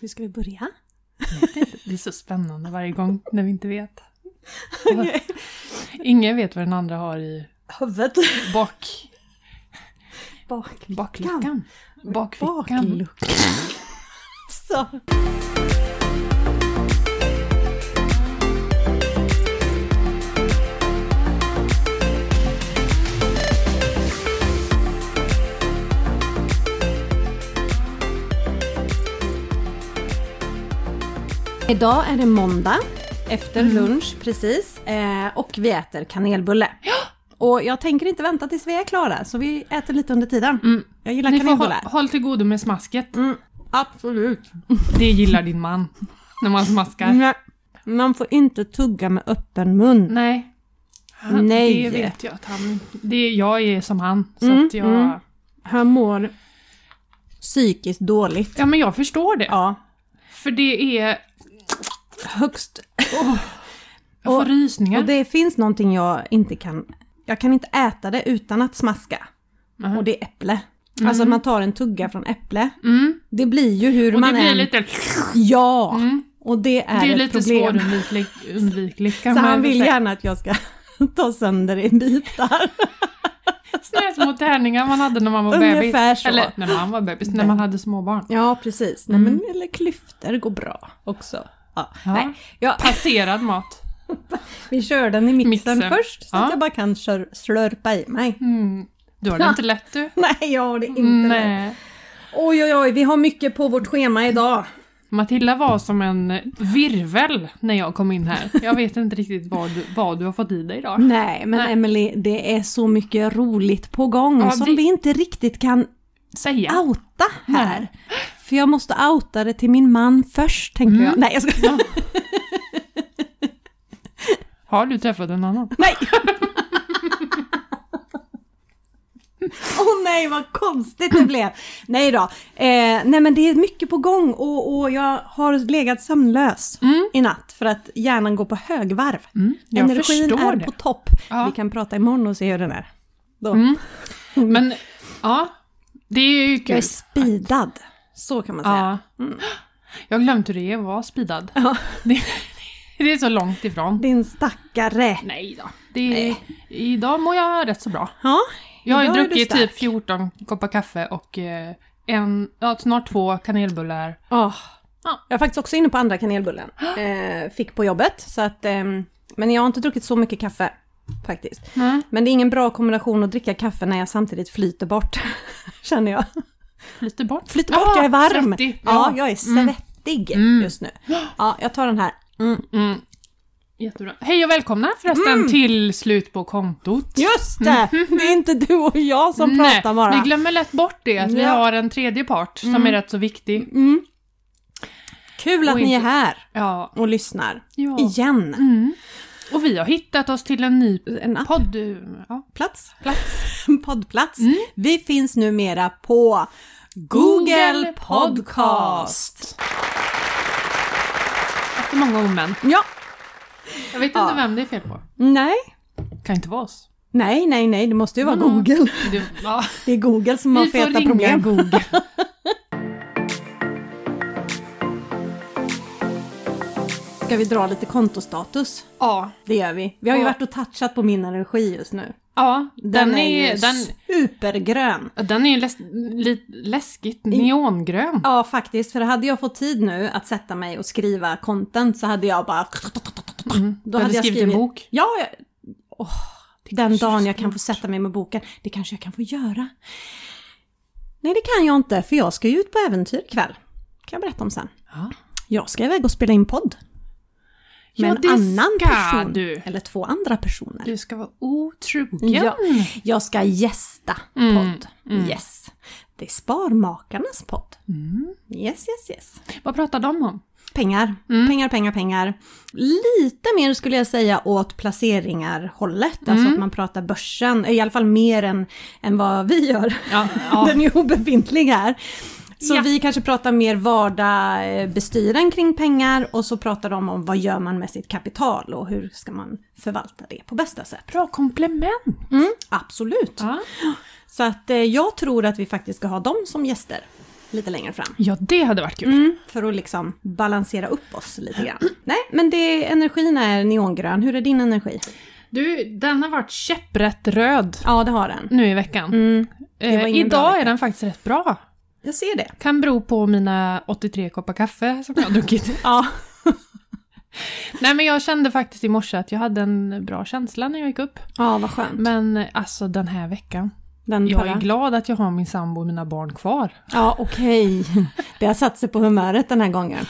Hur ska vi börja? Det är så spännande varje gång när vi inte vet. Ingen vet vad den andra har i Huvudet. bak, Bak. bakluckan. Bakfickan. Så. Idag är det måndag efter Mm. lunch precis eh, och vi äter kanelbulle. Och jag tänker inte vänta tills vi är klara så vi äter lite under tiden. Mm. Jag gillar Ni får kanelbulle. hålla, håll till godo med smasket. Mm, absolut. Det gillar din man. När man smaskar. Nej. Man får inte tugga med öppen mun. Nej. Han, Nej. Det vet jag att han det är, Jag är som han. Så Mm, att jag... mm. Han mår psykiskt dåligt. Ja men jag förstår det. Ja, För det är... högst. Jag får Och- rysningar. Och det finns någonting jag inte kan... Jag kan inte äta det utan att smaska. Mhm. Och det är äpple. Alltså att man tar en tugga från äpple. mm. Det blir ju hur och det man blir än... lite... Ja! Mm. Och det är, Det är ju ett lite problem. svårundvikligt. undvikligt, kan Så man han vill säga. gärna att jag ska ta sönder i bitar. Såna små tärningar man hade när man var bebis. Ungefär så. Eller när man var bebis, när man hade småbarn. Ja, precis. Nej, men, eller klyftor går bra också. Mm. Ja. Ja. Nej, ja, Passerad mat. vi kör den i mixen, Mixen. först så att Ja. jag bara kan kör, slörpa i mig. Mm. Du har det inte lätt du. Nej, jag har det inte. lätt. Nej. Oj, oj, oj, vi har mycket på vårt schema idag. Matilda var som en virvel när jag kom in här. Jag vet inte riktigt vad du, vad du har fått i dig idag. Nej, men Nej. Emily, det är så mycket roligt på gång Ja, som vi- vi inte riktigt kan Säga. outa här. Nej. För jag måste outa det till min man först, tänker Mm. jag. Nej, jag ska... Ja. Har du träffat en annan? Nej! Åh nej, vad konstigt det blev! Nej då. Eh, nej men det är mycket på gång och, och jag har legat sömnlös Mm. i natt för att hjärnan går på högvarv. Mm. Jag Energin förstår är det. på topp. Ja. Vi kan prata imorgon och se hur den är. Då. Mm. Men ja, det är ju Jag är kul. speedad. Så kan man säga. Ja. Mm. Jag har glömt hur det är att vara speedad. Ja. Det, det är så långt ifrån. Din stackare. Nej då. Det är, Idag mår jag rätt så bra. Ja, Jag har ju idag är du druckit stark. typ 14 koppar kaffe och eh, en, ja, snart två kanelbullar. Åh. Ja. Ah. Jag är faktiskt också inne på andra kanelbullen. Eh, fick på jobbet. Så att, ehm, men jag har inte druckit så mycket kaffe faktiskt. Mm. Men det är ingen bra kombination att dricka kaffe när jag samtidigt flyter bort. Känner jag. Flyter bort. Flyter bort, Ja, jag är varm. Ah, svettig. Ja, Ja. jag är svettig Mm. just nu. Ja, jag tar den här. Mm. Mm. Jättebra. Hej och välkomna förresten till Slut på kontot. Just det! Mm. Det är inte du och jag som pratar bara. Vi glömmer lätt bort det, att vi Ja. har en tredje part som är rätt så viktig. Mm. Kul att Och ni är inte- här Ja. och lyssnar. ja. Igen. Mm. Och vi har hittat oss till en ny En app. podd... eh, Ja, plats. plats. poddplats. Vi finns numera på Google Google Podcast. Podcast. Efter många om men. Ja, Jag vet Ja. inte vem det är fel på. nej, Kan inte vara oss. nej, nej, nej, det måste ju vara Mm. Google. Det, ja. Det är Google som har Vi får feta ringa problem. Google. Ska vi dra lite kontostatus? ja. Det gör vi. Vi har ju Ja. varit och touchat på min energi just nu. Ja, den, Den, är, är, ju den, supergrön. den är ju läs, li, läskigt neongrön. Ja, faktiskt, för hade jag fått tid nu att sätta mig och skriva content så hade jag bara... Mm. Då Du hade skrivit, en bok. Ja, jag... Åh, den dagen jag kan få sätta mig med boken, det kanske jag kan få göra. Nej, det kan jag inte, för jag ska ju ut på äventyr ikväll. kan jag berätta om sen. Ja. Jag ska iväg och spela in podd. Med Ja, en det annan ska person. du. Eller två andra personer. Du ska vara otrogen. Ja. Jag ska gästa Mm, podd. mm. Yes. Det är Sparmakarnas podd. Mm. Yes, yes, yes. Vad pratar de om? Pengar, Mm. pengar, pengar, pengar. Lite mer skulle jag säga åt placeringar-hållet, alltså Mm. att man pratar börsen, i alla fall mer än, än vad vi gör. Ja, ja. Den är ju obefintlig här. Så Ja. vi kanske pratar mer vardag, eh, bestyren kring pengar och så pratar de om vad gör man med sitt kapital och hur ska man förvalta det på bästa sätt. Bra komplement! Mm, absolut. Ja. Så att eh, jag tror att vi faktiskt ska ha dem som gäster. lite längre fram. Ja, det hade varit kul. Mm, för att liksom balansera upp oss lite grann. Nej, men det, energin är neongrön. Hur är din energi? Du, den har varit käpprätt röd Ja, det har den. nu i veckan. Mm, det var Eh, ingen bra idag är vecka. den faktiskt rätt bra. jag ser det. Kan bero på mina 83 koppar kaffe som jag har druckit. Ja. Nej men jag kände faktiskt i morse att jag hade en bra känsla när jag gick upp. Ja, vad skönt. Men eh, alltså den här veckan. Den Jag förra. är glad att jag har min sambo och mina barn kvar. Ja, okej. Det har satt sig på humöret den här gången.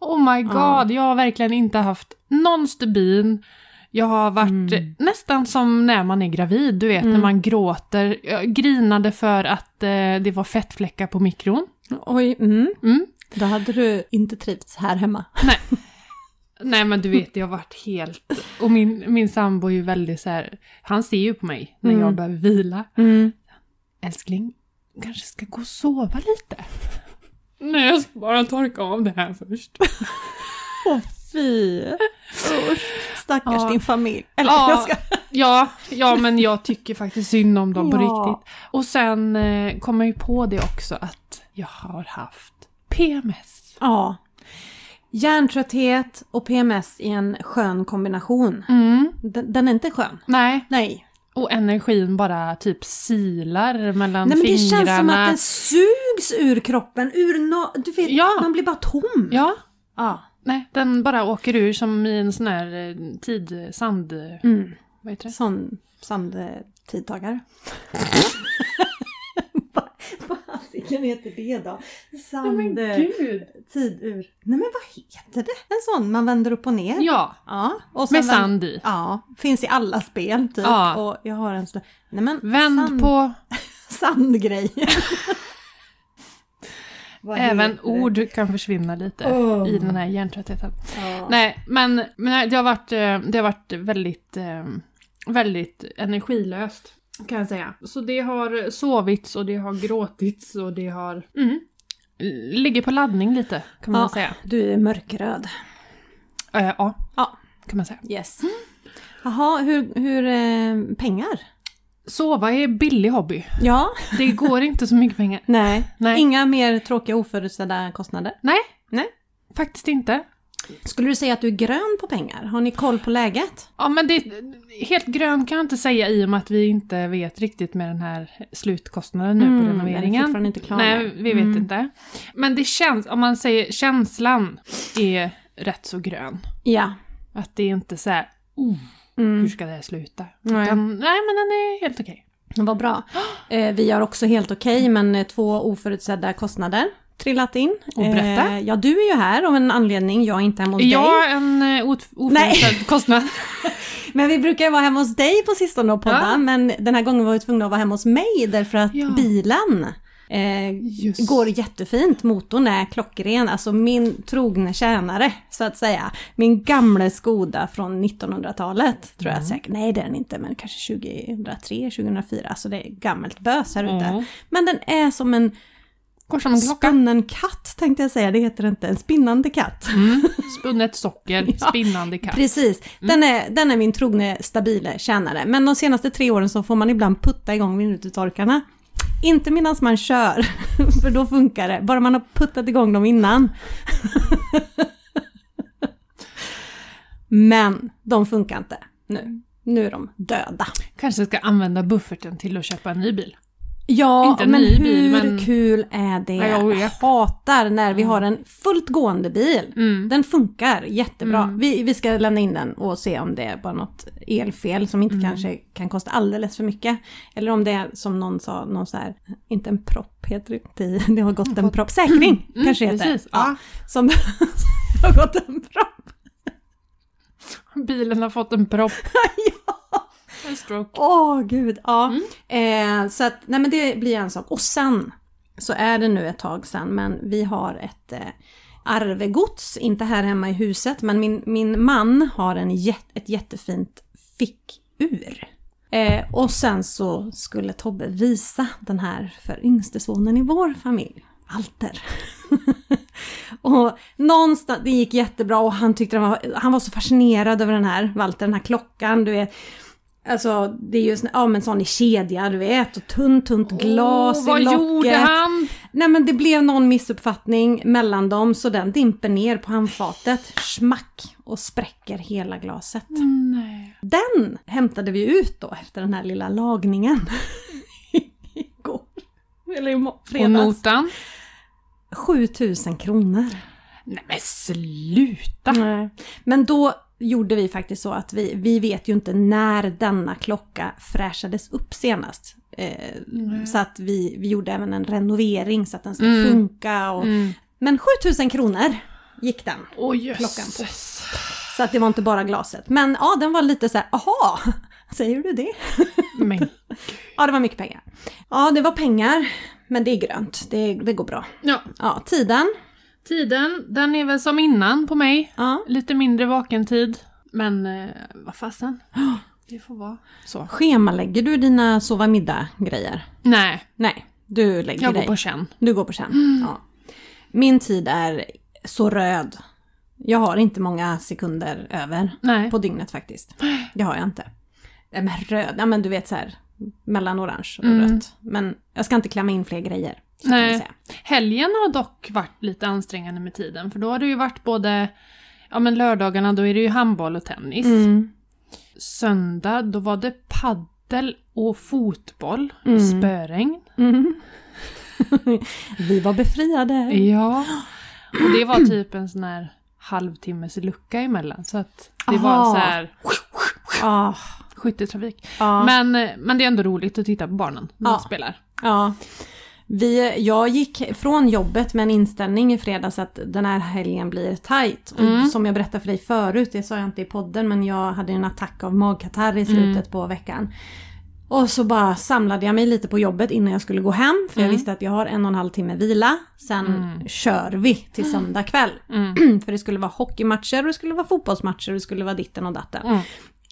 Oh my god, Ja. jag har verkligen inte haft någon stubin. Jag har varit Mm. eh, nästan som när man är gravid, du vet när Mm. man gråter. Jag grinade för att eh, det var fettfläckar på mikron. Oj, mm. Mm. Då hade du inte trivts här hemma. Nej men du vet, jag har varit helt... Och min, min sambo är ju väldigt så här, han ser ju på mig när Mm. jag behöver vila. Mm. Älskling, kanske ska gå och sova lite? Nej, jag ska bara torka av det här först. Fy! Usch. Stackars Ja. din familj. Eller, Ja. jag ska... Ja, ja men jag tycker faktiskt synd om dem på Ja. riktigt. Och sen eh, kom jag ju på det också att jag har haft PMS. Ja. Hjärntrötthet och PMS i en skön kombination. Mm. Den, den är inte skön. Nej, Nej. och energin bara typ silar mellan Nej men det fingrarna. känns som att den sugs ur kroppen, ur no... Du vet, Ja. man blir bara tom. Ja, Ja. nej, den bara åker ur som i en sån här eh, tid, sand... Mm. Vad heter det? Sån sandtidtagare. Vad fasiken heter det då? Sand... gud! Tidur. Nej men vad heter det? En sån man vänder upp och ner. Ja, Ja, och sen med vänd- sand i. Ja, finns i alla spel typ. Ja. Och jag har en sån... Nej men... Vänd sand- på, Sandgrejen. Vad även heter det? ord kan försvinna lite Åh. i den här hjärntröttheten. Ja. Nej, men, men nej, det, har varit, eh, det har varit väldigt, eh, väldigt energilöst kan jag säga. Så det har sovits och det har gråtits och det har... Mm, ligger på laddning lite kan man Ja. säga. Du är mörkröd. Eh, ja, Ja. kan man säga. Yes. Jaha, hur, hur eh, pengar? Sova är en billig hobby. Ja. Det går inte så mycket pengar. Nej. Nej. Inga mer tråkiga oförutsedda kostnader. Nej. Nej. Faktiskt inte. Skulle du säga att du är grön på pengar? Har ni koll på läget? Ja men det, helt grön kan jag inte säga i och med att vi inte vet riktigt med den här slutkostnaden nu Mm, på den är renoveringen. fortfarande inte klar Nej, där. vi vet Mm. inte. Men det känns, om man säger känslan är rätt så grön. Ja. Att det är inte så här, oh, hur Mm. ska det här sluta? Nej. Utan, nej men den är helt okej. Vad bra. Eh, vi har också helt okej, men eh, två oförutsedda kostnader trillat in. Och berätta. Eh, ja, du är ju här av en anledning. Jag är inte hemma hos Är dig. jag en eh, of- oförutsedd kostnad? Men vi brukar ju vara hemma hos dig på sistone och podda. Ja. Men den här gången var vi tvungna att vara hemma hos mig därför att Ja. bilen eh, Just. går jättefint. Motorn är klockren, alltså min trogne tjänare så att säga. Min gamla Skoda från 1900-talet tror Mm. jag säkert. Nej det är den inte, men kanske 2003, 2004. Alltså det är gammalt bös här ute. Mm. Men den är som en Går som en klocka. spunnen katt tänkte jag säga, det heter det inte. En spinnande katt. Mm. Spunnet socker, Ja. Mm. spinnande katt. Precis, den, är, den är min trogne stabile tjänare. Men de senaste tre åren så får man ibland putta igång minututorkarna. Inte medan man kör, för då funkar det. Bara man har puttat igång dem innan. Men de funkar inte nu. Nu är de döda. Kanske ska använda bufferten till att köpa en ny bil. Ja, Inte en men ny hur bil, men- kul är det? Ja, jag vet. hatar när vi har en fullt gående bil. Mm. Den funkar jättebra. Mm. Vi, vi ska lämna in den och se om det är bara något elfel som Mm. inte kanske kan kosta alldeles för mycket. Eller om det är som någon sa, någon så här, inte en propp heter det, inte, det har gått en propp, säkring Mm, kanske heter. precis, ja. Som som har gått en propp. Bilen har fått en propp. ja. En stroke. Åh gud, ja. Mm. Eh, så att, nej men det blir en sak. Och sen, så är det nu ett tag sen, men vi har ett eh, arvegods, inte här hemma i huset, men min, min man har en jät, ett jättefint fickur. Eh, och sen så skulle Tobbe visa den här för yngste sonen i vår familj, Walter. och någonstans, det gick jättebra och han tyckte den var, han var så fascinerad över den här, Walter, den här klockan, du vet. Alltså det är ju sån, ja, men sån i kedja du vet och tunt tunt glas Åh, vad i locket. gjorde han? Nej men det blev någon missuppfattning mellan dem så den dimper ner på handfatet, smack, och spräcker hela glaset. Nej. Den hämtade vi ut då efter den här lilla lagningen. Igår. Eller i mo- Och fredags. notan? 7000 kronor. Nej men sluta! Nej. Men då gjorde vi faktiskt så att vi, vi vet ju inte när denna klocka fräschades upp senast. Eh, Nej. så att vi, vi gjorde även en renovering så att den ska Mm. funka. Och, Mm. Men 7000 kronor gick den. Åh Klockan jösses! Så att det var inte bara glaset. Men ja, den var lite så här, aha, säger du det? Men Ja, det var mycket pengar. Ja, det var pengar, men det är grönt. Det, det går bra. ja, Ja, tiden. tiden den är väl som innan på mig. Ja. Lite mindre vakentid. Men eh, vad fasen. Det får vara så. Schemalägger du dina sova middag-grejer? Nej, Nej, du lägger jag dig. går på Mm. känn. Du går på känn. Ja. Min tid är så röd. Jag har inte många sekunder över Nej. på dygnet faktiskt. Det har jag inte. Nej, Men röd, ja men du vet så här mellan orange och Mm. rött. Men jag ska inte klämma in fler grejer. Så kan Nej. vi säga. Helgen har dock varit lite ansträngande med tiden för då har det ju varit både Ja men lördagarna då är det ju handboll och tennis. Mm. Söndag då var det paddel och fotboll. Mm. Spöregn. Mm. vi var befriade. Ja. Och det var typ en sån här halvtimmes lucka emellan så att det var Aha. så här Ja. skytteltrafik. Ja. Men, men det är ändå roligt att titta på barnen när Ja. de spelar. Ja. Vi, jag gick från jobbet med en inställning i fredags att den här helgen blir tight. Och Mm. Som jag berättade för dig förut, det sa jag inte i podden, men jag hade en attack av magkatarr Mm. i slutet på veckan. Och så bara samlade jag mig lite på jobbet innan jag skulle gå hem, för jag Mm. visste att jag har en och en halv timme vila. Sen Mm. kör vi till söndag kväll. Mm. för det skulle vara hockeymatcher, och det skulle vara fotbollsmatcher, och det skulle vara ditten och datten. Mm.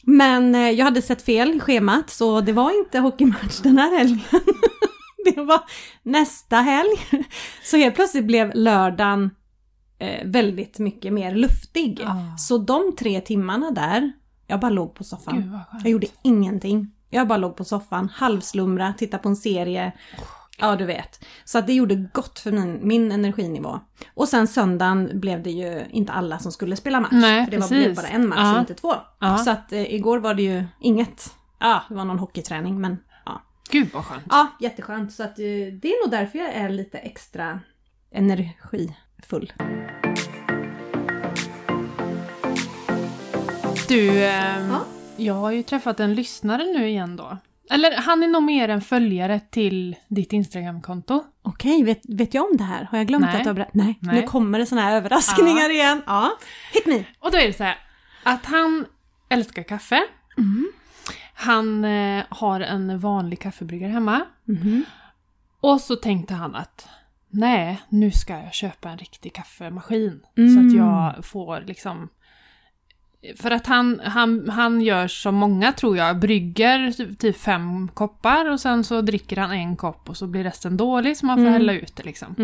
Men eh, jag hade sett fel i schemat så det var inte hockeymatch den här helgen. det var nästa helg. Så helt plötsligt blev lördagen eh, väldigt mycket mer luftig. Ah. Så de tre timmarna där, jag bara låg på soffan. Gud vad skönt. Jag gjorde ingenting. Jag bara låg på soffan, halvslumra, tittade på en serie. Ja, du vet. Så att det gjorde gott för min, min energinivå. Och sen söndagen blev det ju inte alla som skulle spela match. Nej, för det var precis. blev bara en match Ja. och inte två. Ja. Så att eh, igår var det ju inget. Ja, det var någon hockeyträning men ja. Gud vad skönt. Ja, jätteskönt. Så att eh, det är nog därför jag är lite extra energifull. Du, ehm, Ja. jag har ju träffat en lyssnare nu igen då. Eller han är nog mer en följare till ditt Instagramkonto. Okej, vet, vet jag om det här? Har jag glömt Nej. att du har berättat? Nej, Nej. nu kommer det såna här överraskningar igen. Ja. Hit me! Och då är det så här att han älskar kaffe. Mm. Han eh, har en vanlig kaffebryggare hemma. Mhm. Och så tänkte han att nej, nu ska jag köpa en riktig kaffemaskin. Så Mm. att jag får liksom... För att han, han, han gör som många tror jag, brygger typ- typ fem koppar och sen så dricker han en kopp och så blir resten dålig så man får Mm. hälla ut det liksom.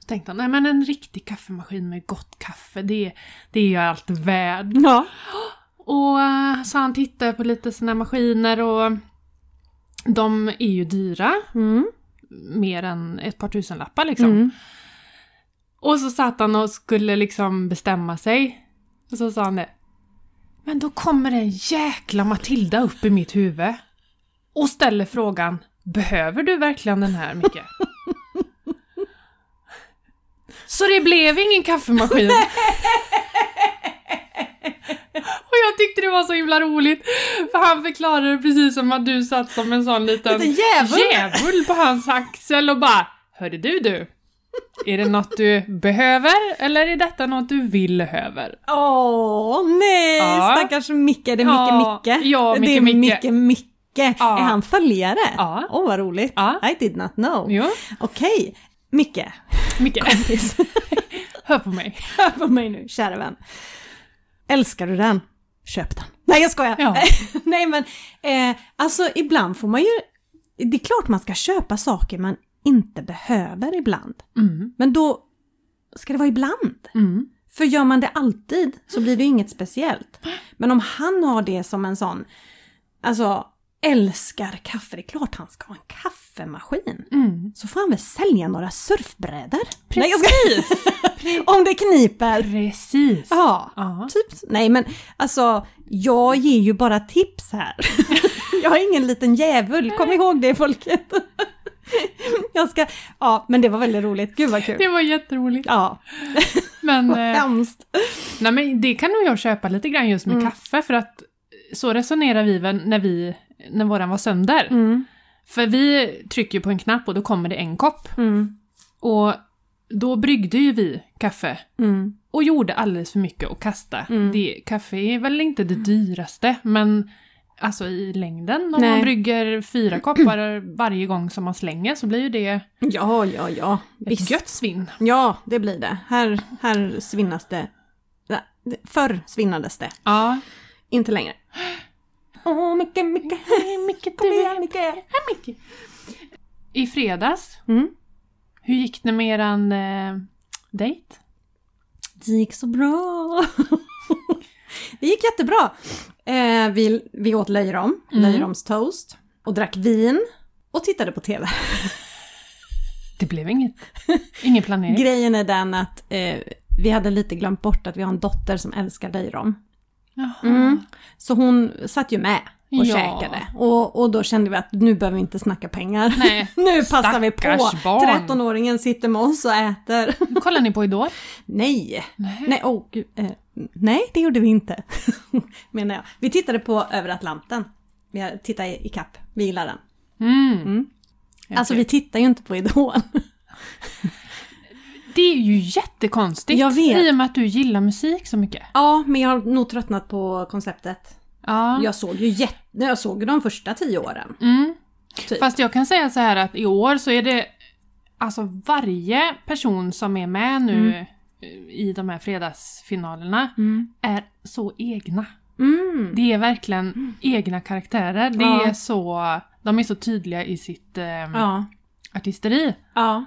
Så tänkte han, nej men en riktig kaffemaskin med gott kaffe, det, det är jag allt värd. Ja. Och eh, så han tittar på lite såna här maskiner och de är ju dyra, Mm. mer än ett par tusenlappar liksom. Mm. Och så satt han och skulle liksom bestämma sig. Och så sa han det. Men då kommer en jäkla Matilda upp i mitt huvud och ställer frågan Behöver du verkligen den här, Micke? så det blev ingen kaffemaskin. och jag tyckte det var så himla roligt. För han förklarade det precis som att du satt som en sån liten Lite djävul! djävul på hans axel och bara Hörde du du, är det något du behöver eller är detta något du vill höver? Åh nej, Ja. stackars Micke. Det är Micke Ja, Micke. ja, Micke det är Micke. Micke Micke. Ja. Är han följare? Ja. Åh vad roligt. Ja. I did not know. Jo, Okej, Micke. Micke, Kompis. hör på mig. Hör på mig nu, kära vän. Älskar du den? Köp den. Nej jag skojar. Ja. nej men, eh, alltså ibland får man ju... Det är klart man ska köpa saker man inte behöver ibland. Mm, Men då ska det vara ibland. mm. För gör man det alltid så blir det ju inget speciellt. Men om han har det som en sån, alltså älskar kaffe. Det är klart han ska ha en kaffemaskin. Mm. Så får han väl sälja några surfbrädor. Nej, jag Precis! ska- Om det kniper. Precis! Ja. Ja. Typ, nej men alltså, jag ger ju bara tips här. jag är ingen liten djävul, kom ihåg det folket. jag ska, ja men det var väldigt roligt, gud vad kul. Det var jätteroligt. Ja, Men, vad eh, hemskt. nej, men det kan nog jag köpa lite grann just med Mm. kaffe för att så resonerar vi väl när vi, när våran var sönder. Mm, För vi trycker ju på en knapp och då kommer det en kopp. mm, Och då bryggde ju vi kaffe mm, och gjorde alldeles för mycket och kasta. Mm. Det, kaffe är väl inte det dyraste, men alltså i längden, om man Nej. brygger fyra koppar varje gång som man slänger så blir ju det ett Ja, ja, ja. Visst. gött svinn. Ja, det blir det. Här, här svinnas det. Nej, det- Förr svinnades det, Ja. inte längre. Åh, oh, Micke, Micke, Mycket kom igen Micke! mycket. I fredags, Mm. hur gick det med eran eh, dejt? Det gick så bra. det gick jättebra. Eh, vi, vi åt löjrom, Mm. löjromstoast och drack vin och tittade på TV. Det blev inget. Ingen planering. Grejen är den att eh, vi hade lite glömt bort att vi har en dotter som älskar löjrom. Jaha. Mm. Så hon satt ju med och Ja. käkade. Och, och då kände vi att nu behöver vi inte snacka pengar. Nej, Nu passar vi på! Stackars barn. 13-åringen sitter med oss och äter. kollar ni på Idol? Nej! Nej, åh gud, eh, nej, det gjorde vi inte. Menar jag. Vi tittade på Över Atlanten. Vi har- tittade i i kapp. Vi gillar den. Mm. Mm. Okej. Alltså vi tittar ju inte på Idol. Det är ju jättekonstigt. Jag vet. I och med att du gillar musik så mycket. ja, men jag har nog tröttnat på konceptet. Ja. Jag såg ju jätte... Jag såg ju de första tio åren. Mm. Typ. Fast jag kan säga så här att i år så är det alltså varje person som är med nu i de här fredagsfinalerna Mm. är så egna. Mm. Det är verkligen egna karaktärer. Det Ja. är så, de är så tydliga i sitt eh, Ja. artisteri. ja.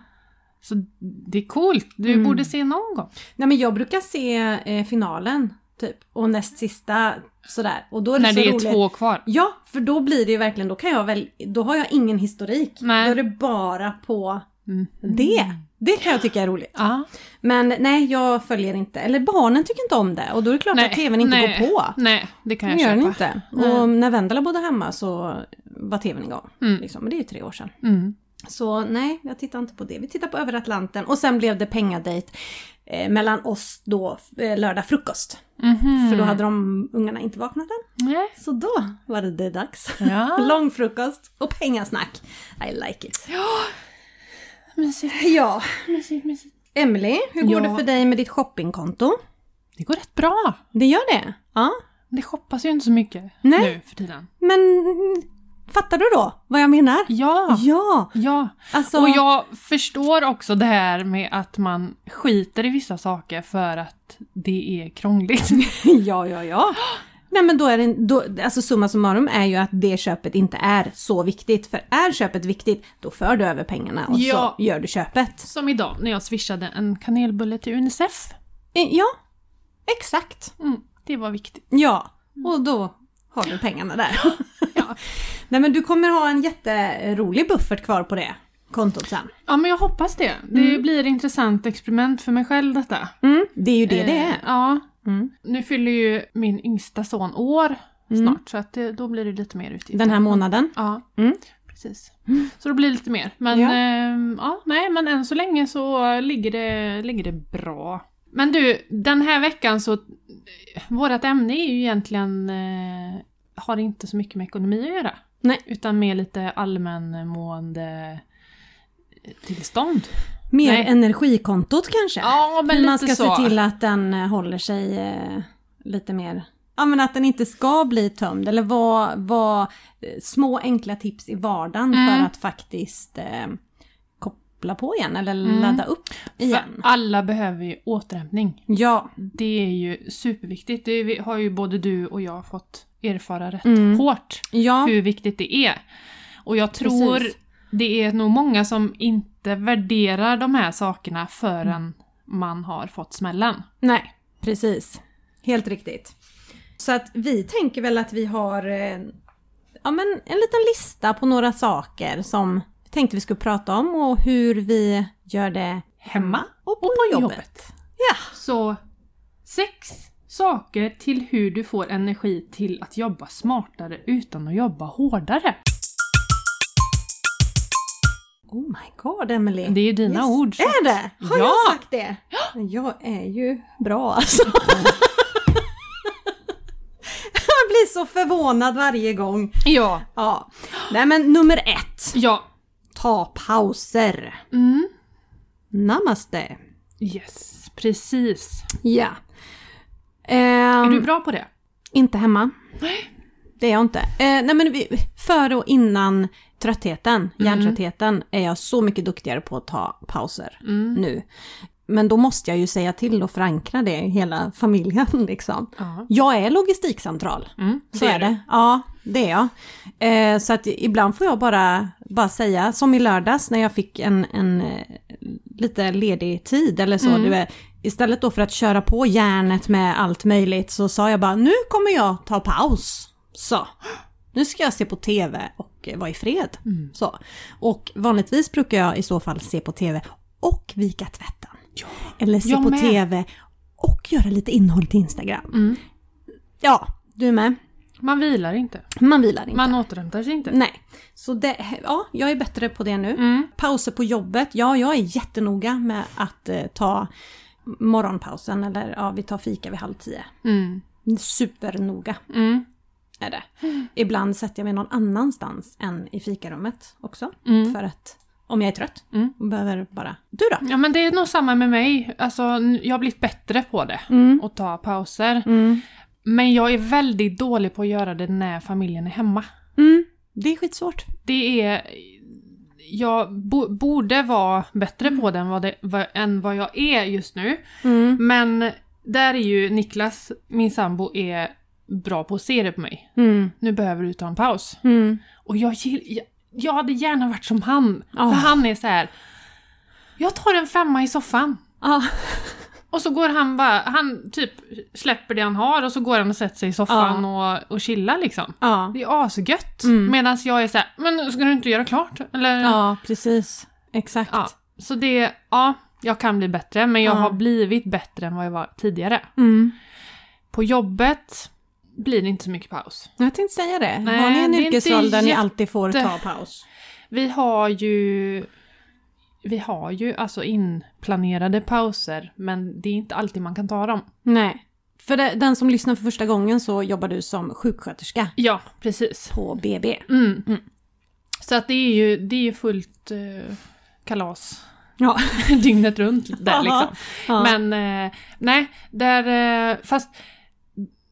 Så det är coolt. Du Mm. borde se någon gång. Nej men jag brukar se eh, finalen, typ. Och näst sista, sådär. Och då är det När så det är roligt. två kvar. Ja, för då blir det ju verkligen, då kan jag väl, då har jag ingen historik. Nej. Då är det bara på Mm. det. Det kan jag tycka är roligt. Ja. Men nej, jag följer inte. Eller barnen tycker inte om det och då är det klart att tvn inte nej, går på. Nej, det kan Det jag gör den köpa. inte. Nej. Och när Vendela bodde hemma så var tvn igång. Mm. Liksom. Men det är ju tre år sedan. Mm. Så nej, jag tittar inte på det. Vi tittar på Över Atlanten och sen blev det pengadejt eh, mellan oss då eh, lördag frukost. Mhm. För då hade de ungarna inte vaknat än. Nej. Så då var det, det dags. Ja, Lång frukost och pengasnack. I like it. mysigt, Ja, mysigt, mysigt. Emily, hur går Ja. det för dig med ditt shoppingkonto? Det går rätt bra. Det gör det? Ja. Det shoppas ju inte så mycket Nej. nu för tiden. Men fattar du då vad jag menar? Ja, Ja, ja. alltså... Och jag förstår också det här med att man skiter i vissa saker för att det är krångligt. ja, ja, ja. Nej men då är det, då, alltså summa summarum är ju att det köpet inte är så viktigt. För är köpet viktigt, då för du över pengarna och Ja. så gör du köpet. Som idag när jag swishade en kanelbulle till Unicef. Eh, Ja, exakt. Mm, det var viktigt. Ja, och då har du pengarna där. Mm. Ja. Nej men du kommer ha en jätterolig buffert kvar på det kontot sen. ja, men jag hoppas det. Det blir ett intressant experiment för mig själv detta. Mm, det är ju det det är. Eh, Ja. Mm. Nu fyller ju min yngsta son år Mm. snart så att det, då blir det lite mer utgifter. Den här månaden. Ja, Mm. precis. Så det blir lite mer. Men Ja. ja. ja, nej, men än så länge så ligger det, ligger det bra. Men du, den här veckan så... Vårt ämne är ju egentligen... Eh, har inte så mycket med ekonomi att göra. Nej. Utan mer lite allmänmående eh, tillstånd. Mer Nej. energikontot kanske? Ja, men Hur man lite ska så. se till att den eh, håller sig eh, lite mer... Ja men att den inte ska bli tömd eller vad, vad eh, små enkla tips i vardagen Mm. för att faktiskt eh, koppla på igen eller Mm. ladda upp igen. För alla behöver ju återhämtning. Ja. Det är ju superviktigt. Det vi- har ju både du och jag fått erfara rätt Mm. hårt. Ja. hur viktigt det är. Och jag tror Precis. det är nog många som inte värderar de här sakerna förrän Mm. man har fått smällen. Nej, precis. Helt riktigt. Så att vi tänker väl att vi har eh, ja, men en liten lista på några saker som vi tänkte vi skulle prata om och hur vi gör det Hemma och på, och på jobbet. jobbet. Ja. Så sex saker till hur du får energi till att jobba smartare utan att jobba hårdare. Oh my god, Emily. Det är ju dina Yes. ord. så- Är det? Har Ja. jag sagt det? Men Jag är ju bra alltså. jag blir så förvånad varje gång. Ja. Ja. Nej men nummer ett. Ja. Ta pauser. Mm. Namaste. Yes, precis. Ja. Ehm, Är du bra på det? Inte hemma. Nej. Det är jag inte. Eh, nej men vi, före och innan Mm. tröttheten, hjärntröttheten, är jag så mycket duktigare på att ta pauser. Mm. nu. Men då måste jag ju säga till och förankra det i hela familjen liksom. Ja. Jag är logistikcentral. Mm. Så är det. Ja, det är jag. Eh, så att ibland får jag bara, bara säga, som i lördags när jag fick en, en eh, lite ledig tid eller så. Mm. Du vet, istället då för att köra på järnet med allt möjligt så sa jag bara, nu kommer jag ta paus. Så. Nu ska jag se på TV och eh, vara i fred. Mm. Så. Och vanligtvis brukar jag i så fall se på TV och vika tvätten. Eller se Jag på med. TV och göra lite innehåll till Instagram. Mm. Ja, du är med. Man vilar inte. Man vilar inte. Man återhämtar sig inte. Nej. Så det, ja, jag är bättre på det nu. Mm. Pauser på jobbet. Ja, jag är jättenoga med att eh, ta morgonpausen eller ja, vi tar fika vid halv tio. Mm. Supernoga Mm. är det. Ibland sätter jag mig någon annanstans än i fikarummet också. Mm. För att om jag är trött Mm. och behöver bara... Du då? Ja men det är nog samma med mig. Alltså n- jag har blivit bättre på det. Mm. Att ta pauser. Mm. Men jag är väldigt dålig på att göra det när familjen är hemma. Mm. Det är skitsvårt. Det är... Jag bo, borde vara bättre på det än vad, det vad, än vad jag är just nu. Mm. Men där är ju Niklas, min sambo, är bra på att se det på mig. Mm. Nu behöver du ta en paus. Mm. Och jag, gill- jag, jag hade gärna varit som han. Ah. För han är så här. Jag tar en femma i soffan. Ja. Och så går han bara, han typ släpper det han har och så går han och sätter sig i soffan och, och chillar liksom. Ja. Det är asgött. Mm. Medan jag är så här, men ska du inte göra klart? Eller? ja, precis. Exakt. Ja. Så det, ja, jag kan bli bättre men jag Ja. har blivit bättre än vad jag var tidigare. Mm. På jobbet blir det inte så mycket paus. Jag tänkte säga det. Nej, Har ni en det är inte yrkesroll där ni jätte- alltid får ta paus? Vi har ju... Vi har ju alltså inplanerade pauser, men det är inte alltid man kan ta dem. Nej. För det, den som lyssnar för första gången så jobbar du som sjuksköterska Ja, precis. på BB. Mm. Mm. Så att det är ju, det är ju fullt eh, kalas Ja. dygnet runt där Ja. liksom. ja. Men eh, nej, där... Eh, fast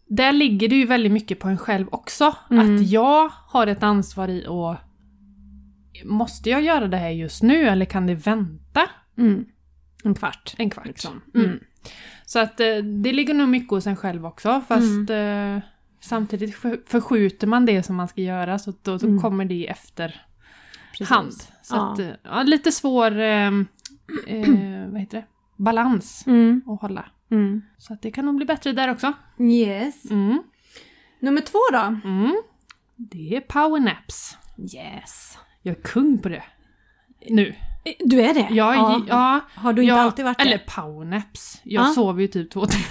där ligger det ju väldigt mycket på en själv också. Mm. Att jag har ett ansvar i att... Måste jag göra det här just nu eller kan det vänta? Mm. En kvart. En kvart. Liksom. Mm. Mm. Så att eh, det ligger nog mycket hos en själv också fast Mm. eh, samtidigt för- förskjuter man det som man ska göra så att då, då Mm. kommer det i efterhand. Precis. Så Ja. att, eh, ja, lite svår eh, eh, vad heter det? balans Mm. att hålla. Mm. Så att det kan nog bli bättre där också. Yes. Mm. Nummer två då? Mm. Det är powernaps. Yes. Jag är kung på det. Nu. Eh, Du är det? Jag, ja. ja, Har du inte jag, alltid varit det? Eller powernaps. Jag Ja. sover ju typ två timmar.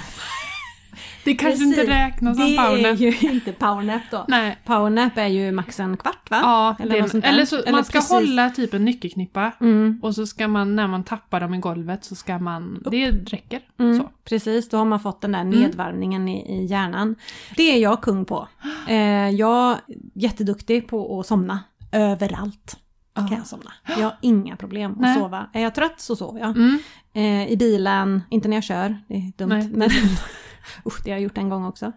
Det kanske Precis. inte räknas som det är powernap. ju inte powernap då. Nej. Powernap är ju max en kvart va? Ja, Eller eller, något sånt där. eller så Eller man ska precis. hålla typ en nyckelknippa Mm, och så ska man, när man tappar dem i golvet så ska man, det räcker. mm, Så. Mm. Precis, då har man fått den där nedvarvningen i, i hjärnan. Det är jag kung på. Eh, jag är jätteduktig på att somna. Överallt Ja. kan jag somna. Jag har inga problem att Ah. Nej. sova. Är jag trött så sover jag. Mm. Eh, I bilen, inte när jag kör, det är dumt. Nej. Men, usch, det har jag gjort en gång också.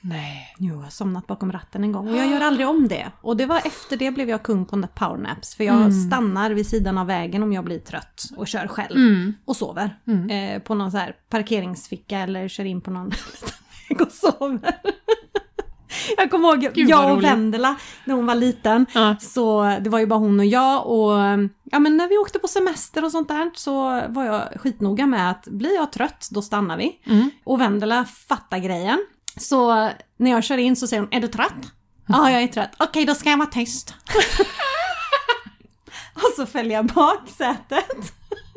Nej. Jo, jag har somnat bakom ratten en gång och jag gör aldrig om det. Och det var efter det blev jag kung på na- powernaps. För jag Mm. stannar vid sidan av vägen om jag blir trött och kör själv. Mm. Och sover. Mm. Eh, på någon så här parkeringsficka eller kör in på någon liten väg och sover. jag kommer ihåg, Gud, vad jag och roligt. Vendela när hon var liten. Ja. Så det var ju bara hon och jag och ja, men när vi åkte på semester och sånt där så var jag skitnoga med att blir jag trött då stannar vi. Mm. Och Vendela fattar grejen. Så när jag kör in så säger hon, är du trött? Ja, jag är trött. Okej, då ska jag vara tyst. och så fäller jag baksätet.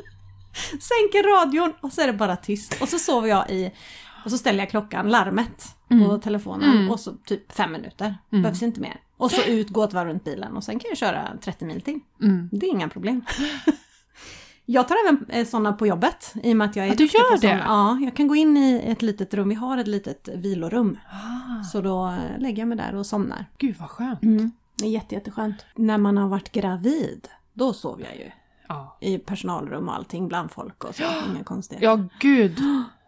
Sänker radion och så är det bara tyst. Och så sover jag i... Och så ställer jag klockan, larmet, på Mm. telefonen. Mm. Och så typ fem minuter. Mm. Behövs inte mer. Och så ut, gå ett varv runt bilen och sen kan jag köra 30 mil till. Mm. Det är inga problem. Jag tar även eh, sådana på jobbet i och med att jag är Ja, du duktig på gör såna. det? Ja, jag kan gå in i ett litet rum. Vi har ett litet vilorum. Ah, Så då eh, lägger jag mig där och somnar. gud vad skönt. Mm. Det är jätte, jätteskönt. När man har varit gravid, då sov jag ju Ja. i personalrum och allting bland folk och så. Inga konstigheter. ja, gud.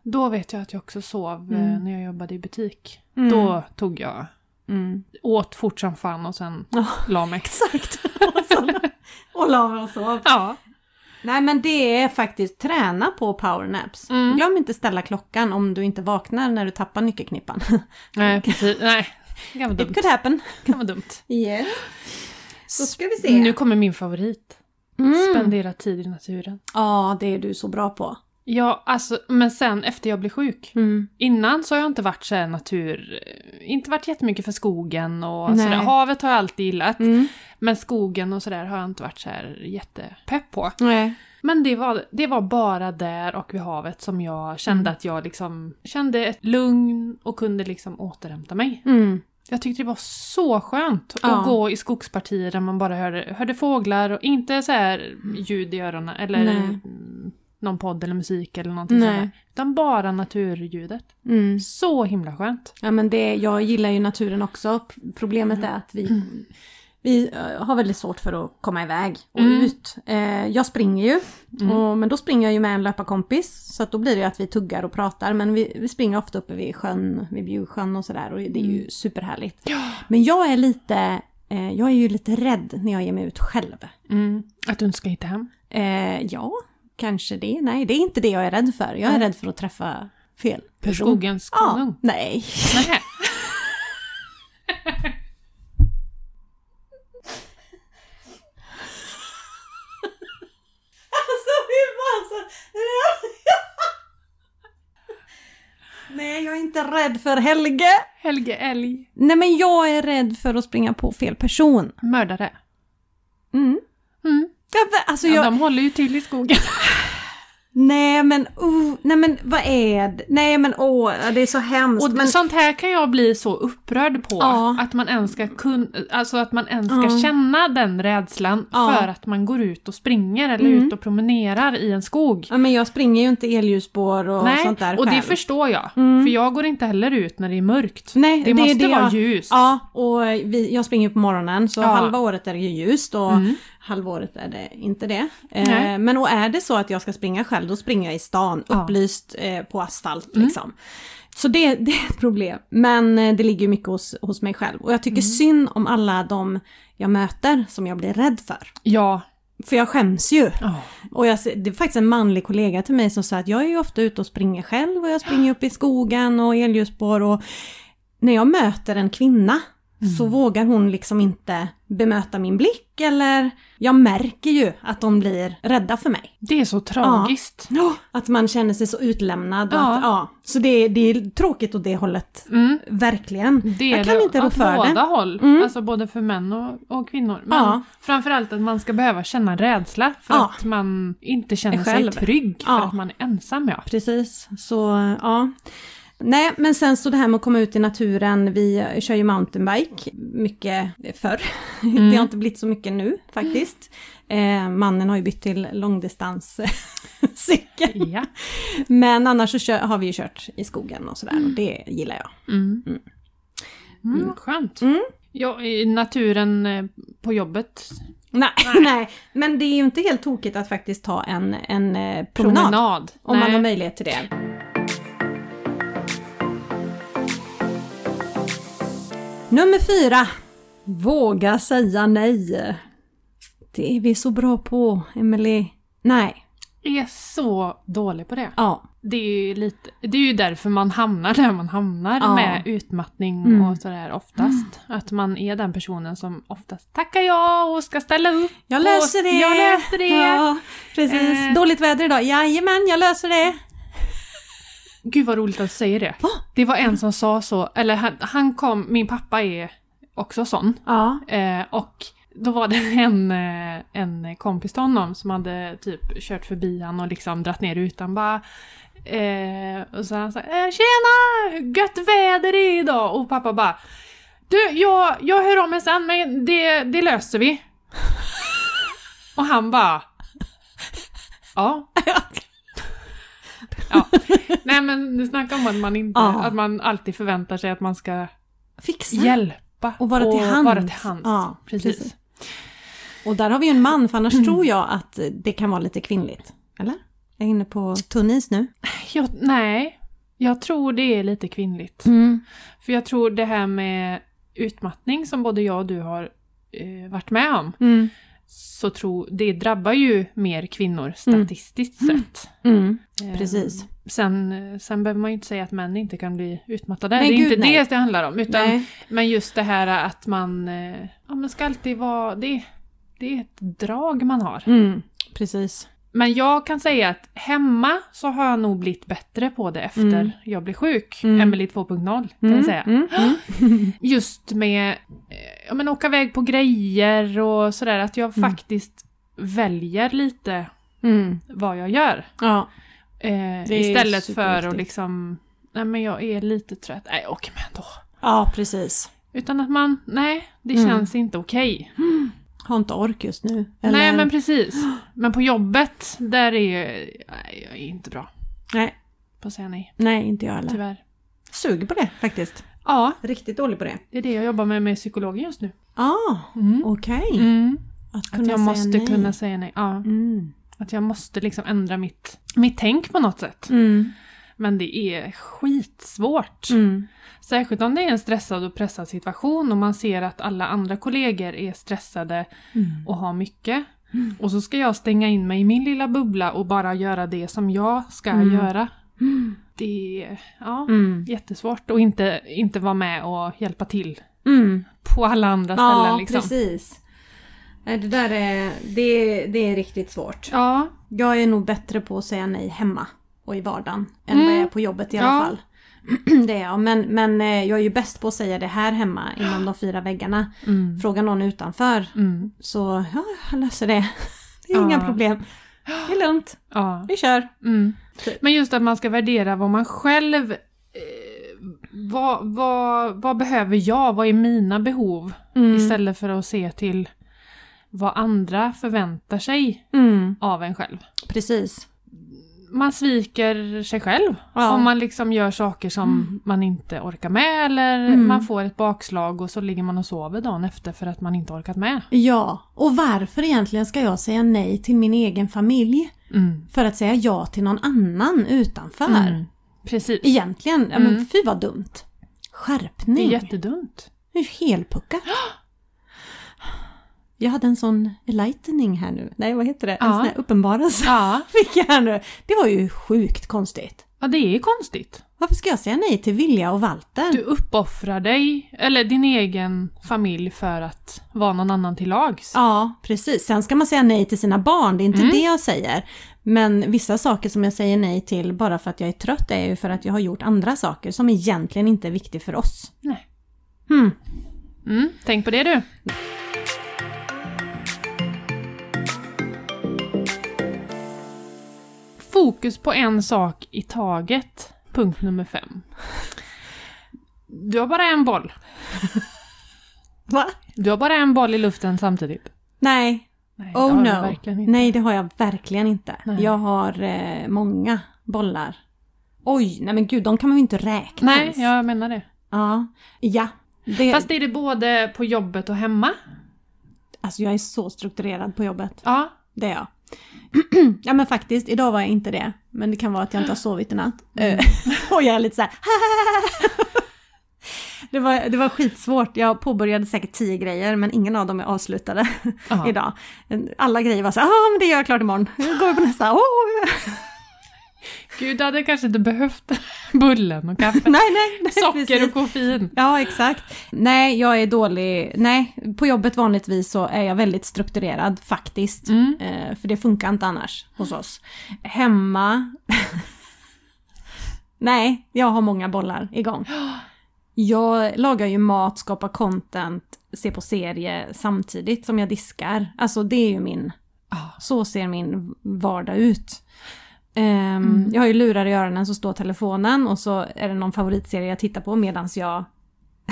Då vet jag att jag också sov eh, Mm. när jag jobbade i butik. Mm. Då tog jag, Mm. åt fort som fan och sen Ja, la mig. exakt. Och så- och la mig och sov. Ja. Nej men det är faktiskt träna på powernaps. Mm. Glöm inte ställa klockan om du inte vaknar när du tappar nyckelknippan. Nej, precis. Nej. Det kan vara It dumt. could happen. Det kan vara dumt. Yes. Då ska vi se. Nu kommer min favorit. Mm. Spendera tid i naturen. Ja, det är du så bra på. Ja, alltså, men sen efter jag blev sjuk. Innan så har jag inte varit så här natur... eh, Inte varit jättemycket för skogen och Nej. sådär. Havet har jag alltid gillat. Mm. Men skogen och sådär har jag inte varit så här jättepepp på. Nej. Men det var, det var bara där och vid havet som jag kände Mm. att jag liksom kände ett lugn och kunde liksom återhämta mig. Mm. Jag tyckte det var så skönt Ja. att gå i skogspartier där man bara hörde, hörde fåglar och inte så här ljud i öronen eller Nej. mm, någon podd eller musik eller någonting Nej. sånt där. Utan bara naturljudet. Mm. Så himla skönt. Ja men det, jag gillar ju naturen också. P- Problemet är att vi, vi eh, har väldigt svårt för att komma iväg och Mm. ut. Eh, jag springer ju, Mm. och, men då springer jag ju med en löparkompis. Så att då blir det ju att vi tuggar och pratar. Men vi, vi springer ofta uppe vid sjön, vid Bjursjön och sådär och det är ju superhärligt. Men jag är lite, eh, jag är ju lite rädd när jag ger mig ut själv. Mm. Att du inte ska hitta hem. Eh, ja, kanske det. Nej, det är inte det jag är rädd för. Jag är rädd för att träffa fel person. Skogens Ja, konung. nej. Nähä. Alltså fy fan så... Nej, jag är inte rädd för Helge. Helge Älg. Nej, men jag är rädd för att springa på fel person. Mördare. Mm. Mm. Ja, va- Alltså Ja, jag... de håller ju till i skogen. Nej men oh, nej men vad är det? Nej men åh, ja, det är så hemskt. Och men... sånt här kan jag bli så upprörd på. Ja. Att man ens ska, kun, alltså att man ens ska Ja. känna den rädslan Ja. för att man går ut och springer eller Mm. ut och promenerar i en skog. Ja men jag springer ju inte elljusspår och Nej, sånt där själv. och det förstår jag. Mm. För jag går inte heller ut när det är mörkt. Nej, det, måste är det vara jag... ljust. Ja, och vi, jag springer på morgonen så Ja. halva året är det ju ljust och Mm. halva året är det inte det. Nej. Eh, men och är det så att jag ska springa själv, då springer jag i stan, Ja. upplyst eh, på asfalt Mm. liksom. Så det, det är ett problem. Men eh, det ligger ju mycket hos, hos mig själv. Och jag tycker Mm. synd om alla de jag möter som jag blir rädd för. Ja. För jag skäms ju. Ja. Och jag, ser- det är faktiskt en manlig kollega till mig som sa att jag är ju ofta ute och springer själv och jag springer upp i skogen och elljusspår och när jag möter en kvinna Mm. så vågar hon liksom inte bemöta min blick eller jag märker ju att de blir rädda för mig. Det är så tragiskt. Att man känner sig så utlämnad. Och Ja. Att, ja. Så det, är- det är tråkigt åt det hållet, Mm. verkligen. Det Jag är kan det inte rå åt för det. båda håll, Mm. alltså både för män och, och kvinnor. Men Ja. framförallt att man ska behöva känna rädsla för Ja. att man inte känner sig själv. trygg för Ja. att man är ensam. Ja. Precis, så ja. Nej, men sen så det här med att komma ut i naturen. Vi kör ju mountainbike mycket förr. Det har inte blivit så mycket nu faktiskt. Eh, mannen har ju bytt till långdistanscykel. ja. Men annars så kör, har vi ju kört i skogen och sådär och det gillar jag. Mm. Mm, skönt. Mm. Ja, i naturen eh, på jobbet. Nej, nej, men det är ju inte helt tokigt att faktiskt ta en, en eh, promenad. Promenad. Om man Nej. har möjlighet till det. Nummer fyra. Våga säga nej. Det är vi så bra på, Emily. Nej. är så dålig på det. Ja. Det är ju, lite, det är ju därför man hamnar där man hamnar Ja. med utmattning Mm. och sådär oftast. Att man är den personen som oftast tackar ja och ska ställa upp. Jag löser det! Jag löser det! Ja, precis. Eh. Dåligt väder idag. Jajamän, jag löser det! Gud vad roligt att du säger det. Va? Det var en som sa så, eller han, han kom, min pappa är också sån. Ja. Eh, och då var det en, eh, en kompis till honom som hade typ kört förbi han och liksom dratt ner rutan bara eh, och så han sa eh, “Tjena! Gött väder det är idag!” och pappa bara “Du, jag, jag hör om mig sen men det, det löser vi”. och han bara “Ja, ja”. Nej men snacka om att man, inte, Ja. att man alltid förväntar sig att man ska Fixa. hjälpa Och vara till hands. vara till hands. Ja, precis. precis. Och där har vi ju en man, för annars Mm. tror jag att det kan vara lite kvinnligt. Eller? Jag är inne på tunn is nu. Jag, nej, jag tror det är lite kvinnligt. För jag tror det här med utmattning som både jag och du har eh, varit med om, Mm. så tror, det drabbar ju mer kvinnor statistiskt sett. Mm. Eh, Precis. Sen, eh, sen behöver man ju inte säga att män inte kan bli utmattade. Nej, det är gud, inte nej. det det handlar om. Utan, Nej. Men just det här att man, eh, ja, man ska alltid vara... Det, det är ett drag man har. Mm. Precis. Men jag kan säga att hemma så har jag nog blivit bättre på det efter Mm. jag blev sjuk. Mm. Emily 2.0 kan Mm, jag säga. mm, mm. Just med eh, ja, men åka iväg på grejer och sådär, att jag Mm. faktiskt väljer lite Mm. vad jag gör. Ja. Eh, Det är istället för att superviktigt. liksom, nej men jag är lite trött, nej åk med ändå. ja, precis. Utan att man, nej det Mm. känns inte okej. Har inte ork just nu. Eller? Nej men precis. Men på jobbet, där är ju, nej jag är inte bra nej, på att säga nej, nej, inte jag heller. tyvärr. Sug på det faktiskt. Ja, Riktigt dålig på det. Det är det jag jobbar med med psykologen just nu. Ja, Ah, okej. Mm. Att kunna Att säga jag måste nej. kunna säga nej. Ja. Mm. Att jag måste liksom ändra mitt, mitt tänk på något sätt. Mm. Men det är skitsvårt. Mm. Särskilt om det är en stressad och pressad situation och man ser att alla andra kollegor är stressade Mm. och har mycket. Och så ska jag stänga in mig i min lilla bubbla och bara göra det som jag ska Mm. göra. Det är ja, Mm. jättesvårt att inte, inte vara med och hjälpa till Mm. på alla andra ställen. Ja, liksom. precis. Nej, Det där är, det, det är riktigt svårt. Ja, Jag är nog bättre på att säga nej hemma och i vardagen än Mm. vad jag är på jobbet i alla Ja. fall. Det är jag, men, men eh, jag är ju bäst på att säga det här hemma inom de fyra väggarna. Mm. Fråga någon utanför Mm. så ja, jag löser det. Det är Ja. inga problem. Det är lugnt, Ja. vi kör. Mm. Typ. Men just att man ska värdera vad man själv... Eh, vad, vad, vad behöver jag? Vad är mina behov? Mm. Istället för att se till vad andra förväntar sig Mm. av en själv. Precis. Man sviker sig själv Ja. om man liksom gör saker som Mm. man inte orkar med eller Mm. man får ett bakslag och så ligger man och sover dagen efter för att man inte orkat med. Ja, och varför egentligen ska jag säga nej till min egen familj Mm. för att säga ja till någon annan utanför? Mm. Precis. Egentligen, ja, Mm. men fy vad dumt. Det är Skärpning. jättedumt. Nu är det helpuckat. Jag hade en sån enlightening här nu. Nej, vad heter det? En Ja. sån här uppenbarelse Ja. fick jag här nu. Det var ju sjukt konstigt. ja, det är konstigt. Varför ska jag säga nej till Vilja och Walter? Du uppoffrar dig, eller din egen familj, för att vara någon annan till lags. Ja, precis. Sen ska man säga nej till sina barn, det är inte Mm. det jag säger. Men vissa saker som jag säger nej till bara för att jag är trött är ju för att jag har gjort andra saker som egentligen inte är viktiga för oss. Nej. Hmm. Mm, tänk på det du. Fokus på en sak i taget. Punkt nummer fem. Du har bara en boll. Va? Du har bara en boll i luften samtidigt. Nej, Nej, det Oh har du no. Verkligen inte. Nej, det har jag verkligen inte. Nej. Jag har eh, många bollar. Oj, nej men gud, de kan man ju inte räkna Nej, ens. jag menar det. Ja. ja. Det, Fast är det både på jobbet och hemma? Alltså jag är så strukturerad på jobbet. Ja. Det är jag. ja men faktiskt, idag var jag inte det. Men det kan vara att jag inte har sovit i natt. Mm. Eh, och jag är lite så här. det, var, det var skitsvårt. Jag påbörjade säkert tio grejer men ingen av dem är avslutade Ja. idag. Alla grejer var så här, ah, men det gör jag klart imorgon. Nu går vi på nästa. Oh. Gud, du hade kanske inte behövt bullen och kaffe. nej, nej, nej. Socker precis. och koffein. Ja, exakt. Nej, jag är dålig. Nej, på jobbet vanligtvis så är jag väldigt strukturerad faktiskt. Mm. Eh, för det funkar inte annars hos oss. Hemma... Nej, jag har många bollar igång. Jag lagar ju mat, skapar content, ser på serie samtidigt som jag diskar. Alltså det är ju min... Ah. Så ser min vardag ut. Ehm, Mm. Jag har ju lurar i öronen så står telefonen och så är det någon favoritserie jag tittar på medan jag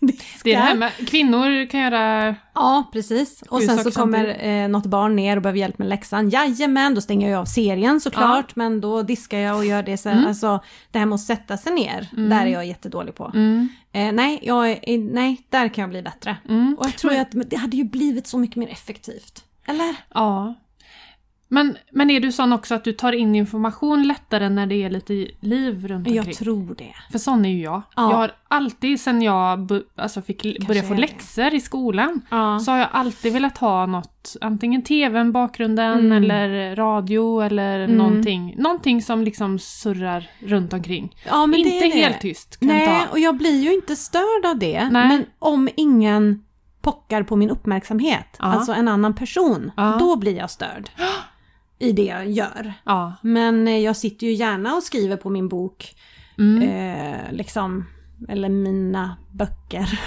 diskar. Det är det här med kvinnor kan göra... Ja, precis. Och Sju sen så saker kommer eh, något barn ner och behöver hjälp med läxan. Jajamän, då stänger jag av serien såklart, men då diskar jag och gör det sen. Mm. Alltså, det här med att sätta sig ner, Mm. där är jag jättedålig på. Mm, Eh, nej, jag är, nej, där kan jag bli bättre. mm. Och jag tror ju att men det hade ju blivit så mycket mer effektivt. Eller? Ja. Men, men är du sån också att du tar in information lättare när det är lite liv runt omkring? Jag tror det. För sån är ju jag. Ja. Jag har alltid sen jag bu- alltså fick l- började få är det. läxor i skolan Ja. så har jag alltid velat ha något, antingen tvn, bakgrunden Mm. eller radio eller Mm. någonting. Någonting som liksom surrar runt omkring. ja men Inte det är det. helt tyst kan jag Nej, ta. och jag blir ju inte störd av det. Nej. Men om ingen pockar på min uppmärksamhet, Ja. alltså en annan person, Ja. då blir jag störd. I det jag gör. Ja. Men eh, jag sitter ju gärna och skriver på min bok, Mm. eh, liksom, eller mina böcker.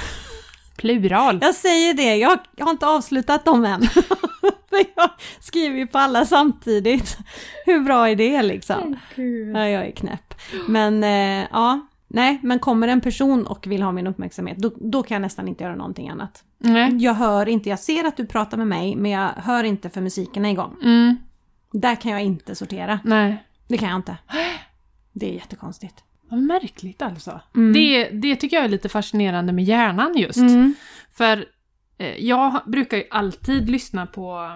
Plural. Jag säger det, jag, jag har inte avslutat dem än. För jag skriver ju på alla samtidigt. Hur bra är det liksom? Ja, jag är knäpp. Men eh, ja, nej, men kommer en person och vill ha min uppmärksamhet, då, då kan jag nästan inte göra någonting annat. Nej. Jag hör inte, jag ser att du pratar med mig, men jag hör inte för musiken är igång. Mm. Där kan jag inte sortera. Nej. Det kan jag inte. Det är jättekonstigt. Vad märkligt alltså. Mm. Det, det tycker jag är lite fascinerande med hjärnan just. Mm. För eh, jag brukar ju alltid lyssna på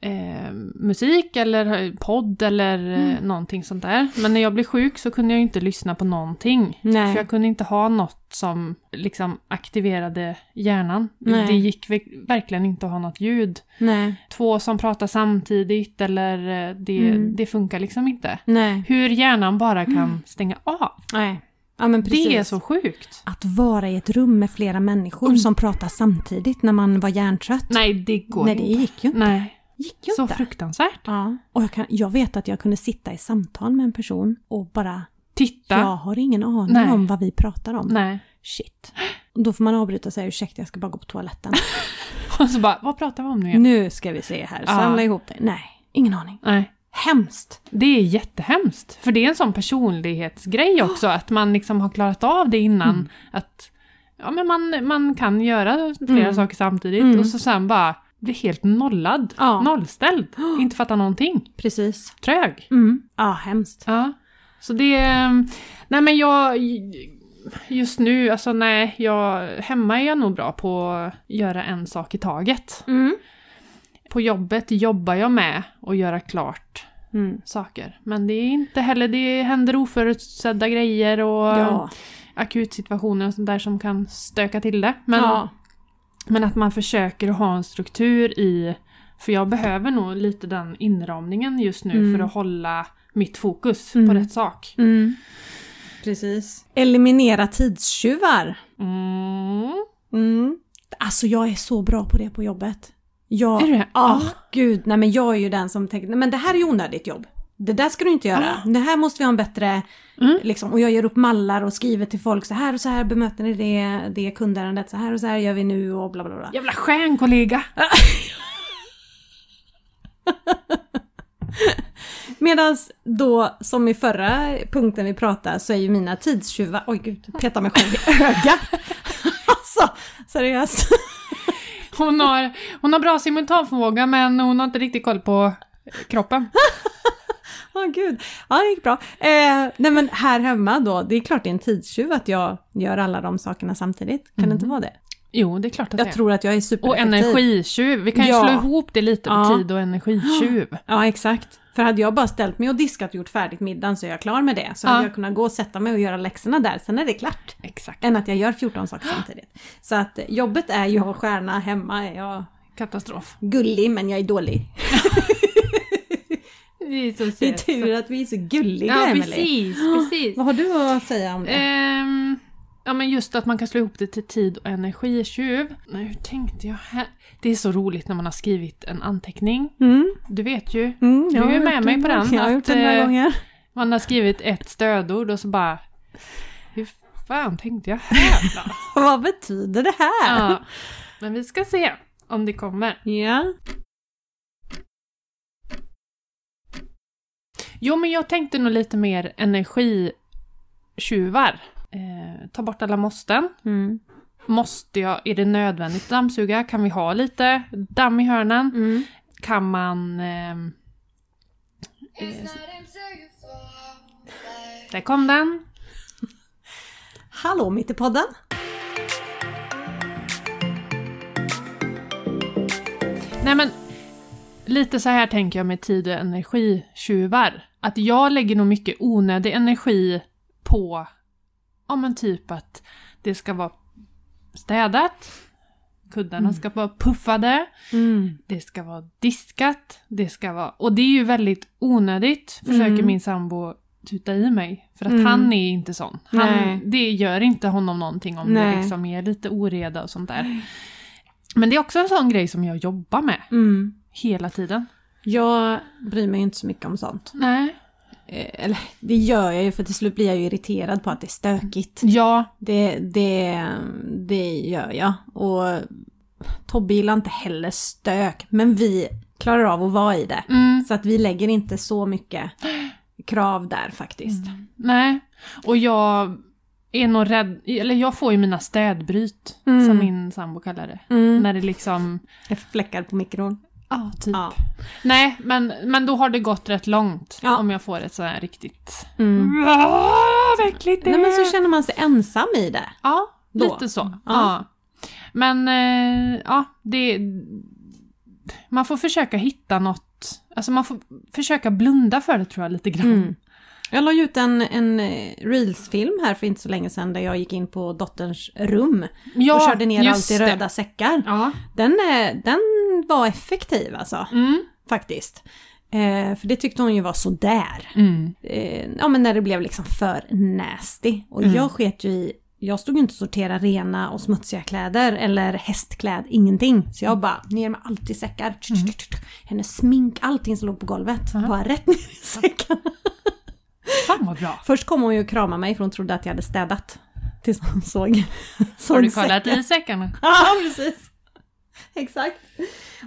eh, musik eller podd eller eh, Mm. någonting sånt där. Men när jag blev sjuk så kunde jag ju inte lyssna på någonting. Nej. För jag kunde inte ha något som liksom aktiverade hjärnan. Nej. Det gick ve- verkligen inte att ha något ljud. Nej. Två som pratar samtidigt eller eh, det, Mm. det funkar liksom inte. Nej. Hur hjärnan bara kan stänga av. Nej. Ja men precis. Det är så sjukt. Att vara i ett rum med flera människor som pratar samtidigt när man var hjärntrött. Nej, det går Nej, det inte. gick ju inte. Nej, Gick ju så inte. fruktansvärt. ja. Och jag, kan, jag vet att jag kunde sitta i samtal med en person och bara, Titta. jag har ingen aning Nej. om vad vi pratar om. Nej. Shit. Och då får man avbryta och säga ursäkta, jag ska bara gå på toaletten. Och så bara, vad pratar vi om nu igen? nu ska vi se här, Ja. samla ihop dig. Nej, ingen aning. Nej. Hemskt. Det är jättehemskt. För det är en sån personlighetsgrej också, att man liksom har klarat av det innan. Mm. Att ja, men man, man kan göra flera Mm. saker samtidigt Mm. och så sen bara bli helt nollad. Ja. Nollställd. Inte fatta någonting. Precis. Trög. Mm. Ja, hemskt. Ja. Så det... Nej men jag... Just nu, alltså nej, jag, hemma är jag nog bra på att göra en sak i taget. Mm. På jobbet jobbar jag med att göra klart Mm. saker. Men det är inte heller, det händer oförutsedda grejer och Ja. akutsituationer och sånt där som kan stöka till det. Men, ja. men att man försöker att ha en struktur i, för jag behöver nog lite den inramningen just nu Mm. för att hålla mitt fokus Mm. på rätt sak. Mm. Precis. Eliminera tidstjuvar. Mm. Mm. Alltså jag är så bra på det på jobbet. Jag, Är du det? Ah, Ah. gud, nej men jag är ju den som tänker, nej men det här är ju onödigt jobb. Det där ska du inte göra. Det här måste vi ha en bättre, Ah. Mm. liksom, och jag gör upp mallar och skriver till folk så här och så här bemöter ni det, det kundärendet, så här och så här gör vi nu och bla bla bla. Jävla stjärnkollega! Medan då, som i förra punkten vi pratade, så är ju mina tidstjuvar, oj gud, peta mig själv i ögat. alltså, seriöst. Hon har, hon har bra simultanförmåga men hon har inte riktigt koll på kroppen. Ja, gud. Ja, det gick bra. Eh, nej, men här hemma då, det är klart det är en tidstjuv att jag gör alla de sakerna samtidigt. Kan det inte vara det? Jo, det är klart att det Jag är. tror att jag är Mm. Och supereffektiv. energitjuv. Vi kan ju Ja. slå ihop det lite, Ja. tid och energitjuv. Ja, exakt. För hade jag bara ställt mig och diskat och gjort färdigt middagen så är jag klar med det. Så Ja. hade jag kunnat gå och sätta mig och göra läxorna där, sen är det klart. Exakt. Än att jag gör 14 saker samtidigt. Så att eh, jobbet är jag stjärna, hemma är jag Katastrof. gullig men jag är dålig. Det är så Det är tur att vi är så gulliga Ja, Emelie. precis, precis. Vad har du att säga om det? Ehm, ja, men just att man kan slå ihop det till tid och energitjuv. Nej, hur tänkte jag här? Det är så roligt när man har skrivit en anteckning. Mm, Du vet ju. mm, jag Du är har med gjort mig det. på den, Jag har att, gjort det några eh, gånger. Man har skrivit ett stödord och så bara... Hur fan tänkte jag här då? Vad betyder det här? ja. Men vi ska se om det kommer. Ja. Jo, men jag tänkte nog lite mer energitjuvar. Eh, ta bort alla måsten. Mm. Måste jag, är det nödvändigt att dammsuga? Kan vi ha lite damm i hörnen? Mm. Kan man... ehm, Eh, där kom den. Hallå mitt i podden! Nej men, lite så här tänker jag med tid och energitjuvar. Att jag lägger nog mycket onödig energi på, ja men typ att det ska vara städat, kuddarna Mm. ska vara puffade, det ska vara diskat, det ska vara... Och det är ju väldigt onödigt, försöker Mm. min sambo tuta i mig. För att Mm. han är inte sån. Nej. Han, det gör inte honom någonting om Nej. det liksom är lite oreda och sånt där. Men det är också en sån grej som jag jobbar med Mm. hela tiden. Jag bryr mig inte så mycket om sånt. Nej. Eh, Eller det gör jag ju för till slut blir jag ju irriterad på att det är stökigt. Ja, Det, det, det gör jag. Och Tobbe gillar inte heller stök, men vi klarar av att vara i det. mm, Så att vi lägger inte så mycket krav där faktiskt. nej. Och jag är nog rädd, eller jag får ju mina städbryt, Mm. som min sambo kallar det. Mm. När det liksom... Jag fläckar på mikron. Ja, typ. Ja. Nej, men, men då har det gått rätt långt Ja. om jag får ett sådär riktigt... Mm. Ah, vad äckligt det Nej men är. så känner man sig ensam i det. Ja, Då. Mm. lite så. Ja. Ja. Men eh, ja, det... Man får försöka hitta något. Alltså man får försöka blunda för det tror jag lite grann. Mm. Jag la ju ut en, en eh, Reels-film här för inte så länge sedan där jag gick in på dotterns rum Ja, och körde ner just allt i det. röda säckar. Ja. Den, eh, den var effektiv alltså, Mm. faktiskt. Eh, för det tyckte hon ju var sådär. Mm. Eh, ja men när det blev liksom för nasty. Och Mm. jag sket ju i, jag stod ju inte och sortera rena och smutsiga kläder eller hästkläd, ingenting. Så Mm. jag bara ner med allt i säckar. Hennes smink, allting som låg på golvet. Aha. Bara rätt ner i säckar. Fan vad bra. Först kom hon ju och kramade mig för hon trodde att jag hade städat. Tills hon såg. såg Har du kollat säcken. i säckarna? Ja, precis. Exakt.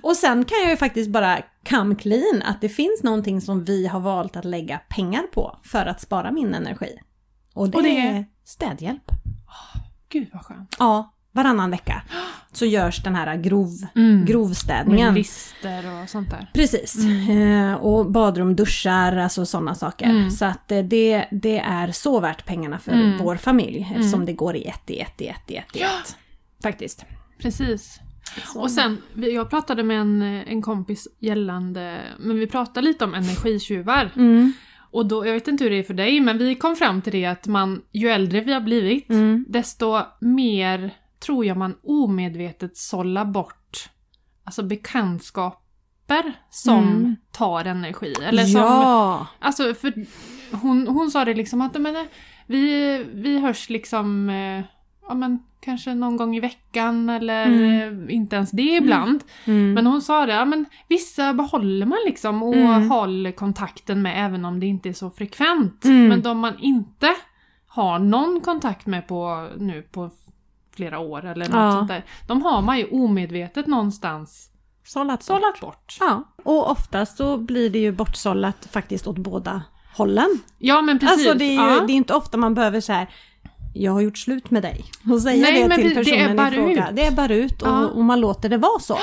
Och sen kan jag ju faktiskt bara come clean att det finns någonting som vi har valt att lägga pengar på för att spara min energi. Och det, Och det är är? städhjälp. Gud vad skönt. Ja, varannan vecka så görs den här grov, Mm. Med grovstädningen. lister och sånt där. Precis. Eh, och badrum, duschar, alltså sådana saker. Mm. Så att eh, det, det är så värt pengarna för Mm. vår familj eftersom det går i ett, i ett, i ett, i ett, i Ja. ett. Faktiskt. Precis. Så. Och sen, vi- jag pratade med en, en kompis gällande, men vi pratade lite om energitjuvar. Mm, Och då, jag vet inte hur det är för dig, men vi kom fram till det att man, ju äldre vi har blivit, mm, desto mer tror jag man omedvetet sållar bort alltså bekantskaper som Mm. tar energi. Eller som, ja. alltså, för hon, hon sa det liksom att men, eh, vi, vi hörs liksom eh, ja, men, kanske någon gång i veckan eller Mm. eh, inte ens det ibland. Mm. Men hon sa det, ja, men vissa behåller man liksom och Mm. håller kontakten med även om det inte är så frekvent. Mm. Men de man inte har någon kontakt med på nu på flera år eller något Ja. sånt där. De har man ju omedvetet någonstans sållat så. sållat bort. Ja, och oftast så blir det ju bortsållat faktiskt åt båda hållen. Ja men precis. Alltså det är ju ja. det är inte ofta man behöver så här jag har gjort slut med dig och säga Nej, det men till det- det personen är bara i fråga. ut. Det är bara ut och, Ja. och man låter det vara så.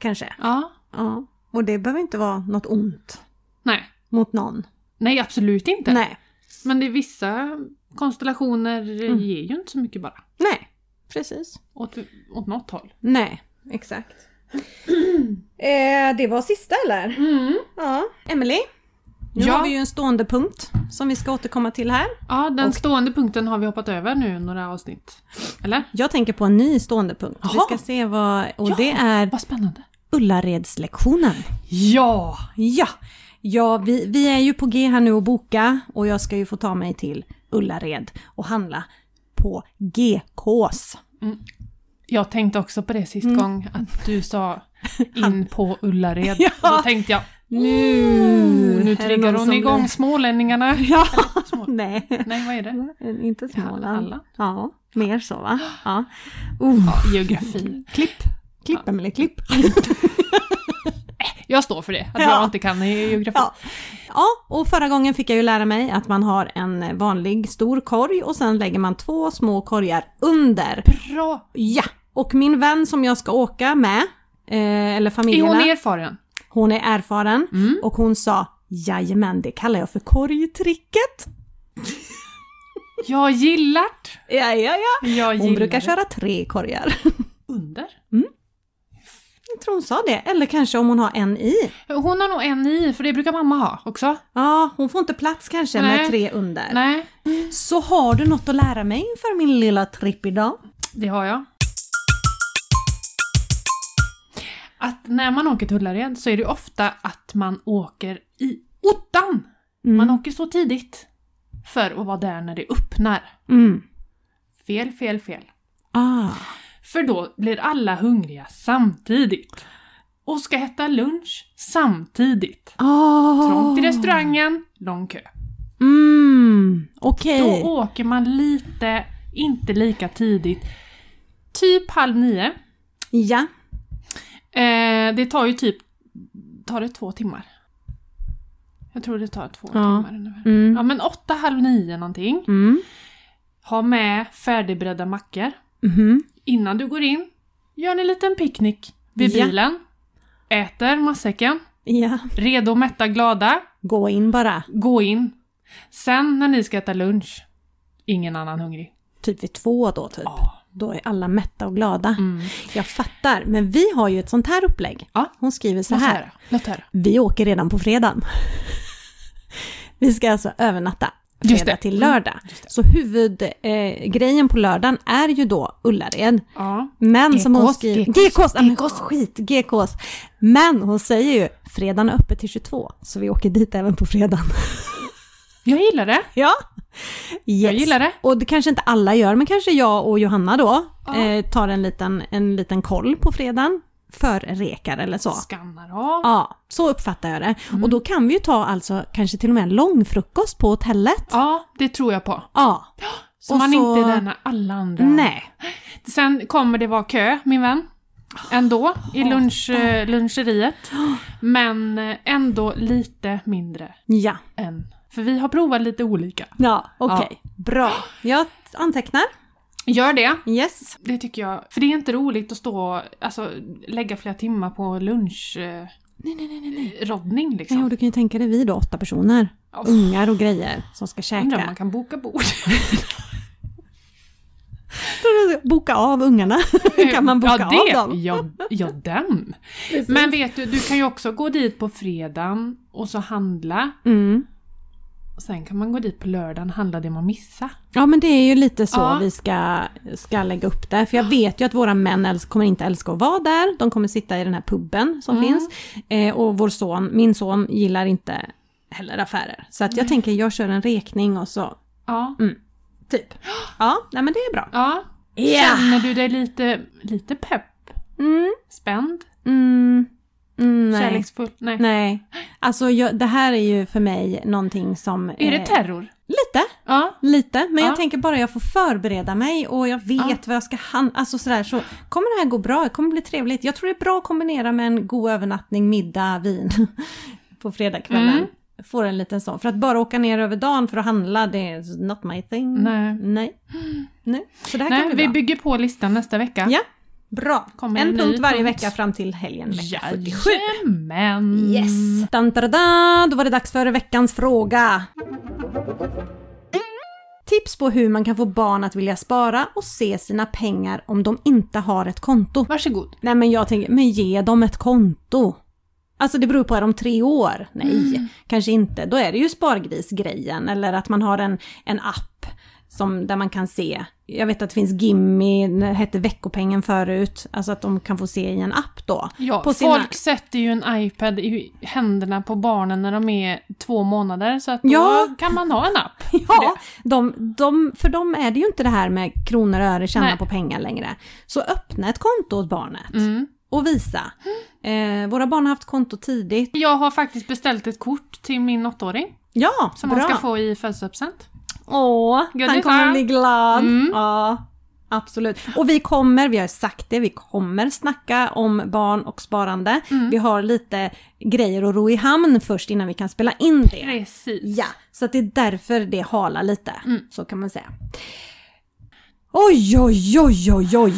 Kanske. ja. Ja. Och det behöver inte vara något ont Nej. mot någon. Nej absolut inte. Nej. Men det är vissa konstellationer eh, Mm. ger ju inte så mycket bara. Nej, precis. Åt, åt något håll. Nej, exakt. eh, det var sista eller? Ja. Emily, nu Ja. har vi ju en stående punkt som vi ska återkomma till här. Ja, den Och- stående punkten har vi hoppat över nu några avsnitt. Eller? Jag tänker på en ny stående punkt. Vi Jaha. ska se vad, och Ja. det är Vad spännande. Ullaredslektionen. Ja! Ja, ja vi, vi är ju på G här nu och boka och jag ska ju få ta mig till Ullared och handla på GKs. Jag tänkte också på det sist Mm. gång, att du sa in på Ullared. Ja. Mm. Då tänkte jag, Nu, nu triggar hon igång smålänningarna. Ja, Småland? Nej, Nej, vad är det? Eh, inte Småland. Halland? Ja, mer så va? Ja. Uh. Ja, geografi. Klipp. Klipp Emelie, klipp. Jag står för det, att Ja. jag inte kan geografi. Ja. ja, och förra gången fick jag ju lära mig att man har en vanlig stor korg och sen lägger man två små korgar under. Bra! Ja! Och min vän som jag ska åka med, eh, eller Är familjerna, hon hon är, erfaren? erfaren Mm. och hon sa Jajamän, det kallar jag för korgtricket. Jag gillar det. Ja, ja, ja. Jag Hon gillar brukar det. köra tre korgar. under. Jag tror hon sa det, eller kanske om hon har en i. Hon har nog en i, för det brukar mamma ha också. Ja, hon får inte plats kanske med Nej. tre under. Nej, Så har du något att lära mig inför min lilla tripp idag? det har jag. Att när man åker till Ullared så är det ju ofta att man åker i ottan. Mm. Man åker så tidigt för att vara där när det öppnar. Mm. Fel, fel, fel. Ah. För då blir alla hungriga samtidigt. Och ska äta lunch samtidigt. Oh. Trångt i restaurangen, lång kö. Mm, okej. Då åker man lite, inte lika tidigt. Typ halv nio. Ja. Eh, det tar ju typ, tar det två timmar? Jag tror det tar två Ja. timmar ungefär. Mm. Ja men åtta, halv nio någonting. Mm. Ha med färdigberedda mackor. Mhm. Innan du går in, gör en liten picknick vid Ja. bilen. Äter matsäcken. Ja. Redo, mätta, glada. Gå in bara. Gå in. Sen när ni ska äta lunch, ingen annan hungrig. Typ vid två då typ. Ja. Då är alla mätta och glada. Mm. Jag fattar, men vi har ju ett sånt här upplägg. Ja. Hon skriver så Låt här. höra. Låt höra. Vi åker redan på fredagen. vi ska alltså övernatta. Fredag Just det. till lördag. Så huvudgrejen eh, grejen på lördagen är ju då Ullared. Ja. Men som hon GKs, skriver... GKs, GKs! ja, men skit! GKs. Men hon säger ju, fredagen är öppet till 22, så vi åker dit även på fredagen. Jag gillar det. Ja. Yes. Jag gillar det. Och det kanske inte alla gör, men kanske jag och Johanna då Ja. eh, tar en liten, en liten koll på fredagen. För rekar eller så. Skannar av. Ja, så uppfattar jag det. Mm. Och då kan vi ju ta alltså kanske till och med en långfrukost på hotellet. Ja, det tror jag på. Ja. Så Och man så- inte är där när alla andra... Nej. Sen kommer det vara kö, min vän. Ändå, i lunch, eh, luncheriet. Men eh, ändå lite mindre Ja. än... För vi har provat lite olika. Ja, okej. Bra. Jag antecknar. Gör det. Yes. Det tycker jag. För det är inte roligt att stå alltså lägga flera timmar på lunch... Eh, Nej, nej, nej. nej. roddning liksom. Ja, och du kan ju tänka dig vi då, åtta personer. Ja, f- Ungar och grejer som ska Undrar om man käka. kan boka bord. Tror du- Boka av ungarna. kan man boka ja, det, av dem? Ja, ja, den. Men vet du, du kan ju också gå dit på fredagen och så handla. Mm. Och sen kan man gå dit på lördagen och handla det man missar. Ja men det är ju lite så Ja. vi ska, ska lägga upp det. För jag vet ju att våra män äls- kommer inte älska att vara där. De kommer sitta i den här puben som Mm. finns. Eh, och vår son, min son gillar inte heller affärer. Så att jag tänker jag kör en rekning och så, Ja. typ. Ja, nej men det är bra. ja. Känner du dig lite, lite pepp? Mm, Spänd? mm, mm, nej. Kärleksfull? Nej. Nej. Alltså jag, det här är ju för mig någonting som... Är det eh, terror? Lite. Ja. Lite, men Ja. jag tänker bara jag får förbereda mig och jag vet Ja. vad jag ska handla. Alltså sådär så kommer det här gå bra, det kommer bli trevligt. Jag tror det är bra att kombinera med en god övernattning, middag, vin på fredagskvällen. Mm. Får en liten sån. För att bara åka ner över dagen för att handla, det är not my thing. Nej. Nej. Nej. Så det här Nej, kan bli vi bra. bygger på listan nästa vecka. Ja. Bra. Kommer en en ny punkt varje punkt. vecka fram till helgen vecka 47. Jajamän! Yes! Dan, da, da, da. Då var det dags för veckans fråga. Tips på hur man kan få barn att vilja spara och se sina pengar om de inte har ett konto. Varsågod. Nej men jag tänker, men ge dem ett konto. Alltså det beror på, är de tre år? Nej, Mm. kanske inte. Då är det ju spargrisgrejen eller att man har en, en app som, där man kan se. Jag vet att det finns Gimmi, det hette veckopengen förut. Alltså att de kan få se i en app då. Ja, På sina- folk sätter ju en iPad i händerna på barnen när de är två månader, så att då Ja. kan man ha en app. Ja, de, de, för dem är det ju inte det här med kronor och öre, tjäna Nej. på pengar längre. Så öppna ett konto åt barnet. Mm. och Visa. Eh, våra barn har haft konto tidigt. Jag har faktiskt beställt ett kort till min åttaåring Ja, som bra! han ska få i födelsedagspresent. Åh, Gulligt, han kommer va? bli glad. Mm. Ja, absolut. Och vi kommer, vi har sagt det, vi kommer snacka om barn och sparande. Mm. Vi har lite grejer att ro i hamn först innan vi kan spela in det. Precis. Ja, så att det är därför det halar lite. Mm. Så kan man säga. Oj, oj, oj, oj, oj.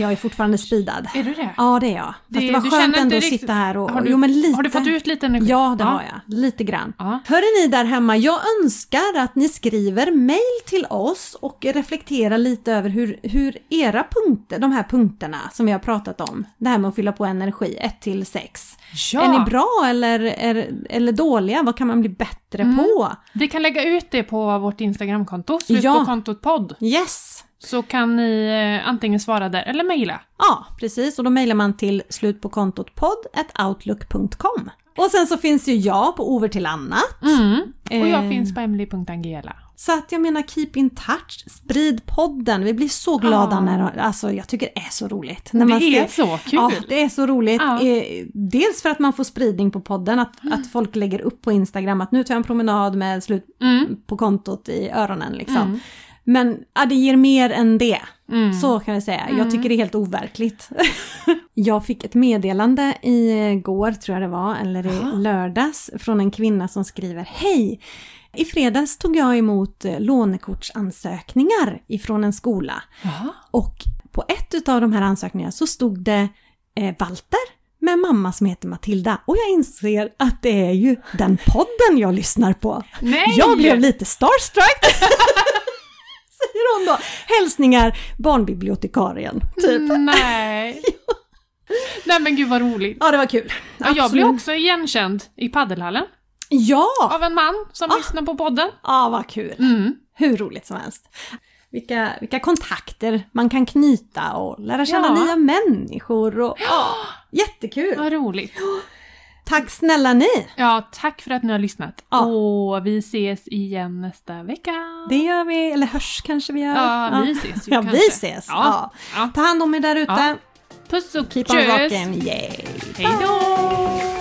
Jag är fortfarande speedad. Är du det? Ja, det är jag. Fast det, Det- var du skönt känner ändå inte att riktigt- sitta här och... Har du- jo, men lite. Har du fått ut lite energi? Ja, det har jag. Lite grann. Ja. Hör ni där hemma, jag önskar att ni skriver mejl till oss och reflekterar lite över hur, hur era punkter, de här punkterna som vi har pratat om, det här med att fylla på energi, 1 till 6. Ja. Är ni bra eller, är, eller dåliga? Vad kan man bli bättre Mm. på? Vi kan lägga ut det på vårt Instagramkonto, slut Ja. på kontot podd. Yes! Så kan ni eh, antingen svara där eller mejla. Ja, precis. Och då mejlar man till slutpåkontotpodd.outlook.com. Och sen så finns ju jag på Over till annat. Mm. Och jag Eh. finns på emily.angela. Så att jag menar keep in touch, sprid podden. Vi blir så glada Ja. när, alltså jag tycker det är så roligt. När Det man ser- är så kul! Ja, det är så roligt. Ja. Eh, Dels för att man får spridning på podden, att, att folk lägger upp på Instagram att nu tar jag en promenad med slut Mm. på kontot i öronen liksom. Mm. Men ja, det ger mer än det. Mm. Så kan vi säga. Jag Mm. tycker det är helt overkligt. jag fick ett meddelande igår, tror jag det var, eller i Jaha. lördags, från en kvinna som skriver Hej! I fredags tog jag emot eh, lånekortsansökningar ifrån en skola. Jaha. Och på ett utav de här ansökningarna så stod det eh, Walter med en mamma som heter Matilda. Och jag inser att det är ju den podden jag lyssnar på. Nej! Jag blev lite starstruck! Säger hon då. Hälsningar barnbibliotekarien. Typ. Nej. Nej men gud vad roligt. Ja, det var kul. Ja, jag Absolut. blev också igenkänd i paddelhallen Ja! av en man Ah. som lyssnar på podden. Ja, vad kul. Mm. Hur roligt som helst. Vilka, vilka kontakter man kan knyta och lära känna Ja. nya människor. Och, ja, jättekul! Vad roligt. Tack snälla ni! Ja, tack för att ni har lyssnat. Ja. Och vi ses igen nästa vecka. Ah. Det gör vi, eller hörs kanske vi gör. Ja, vi ses ju Ja, kanske. vi ses! Ja. Ja. Ja. Ta hand om er där ute. Ja. Puss och Keep on tjus! rocking, yay! Hej då!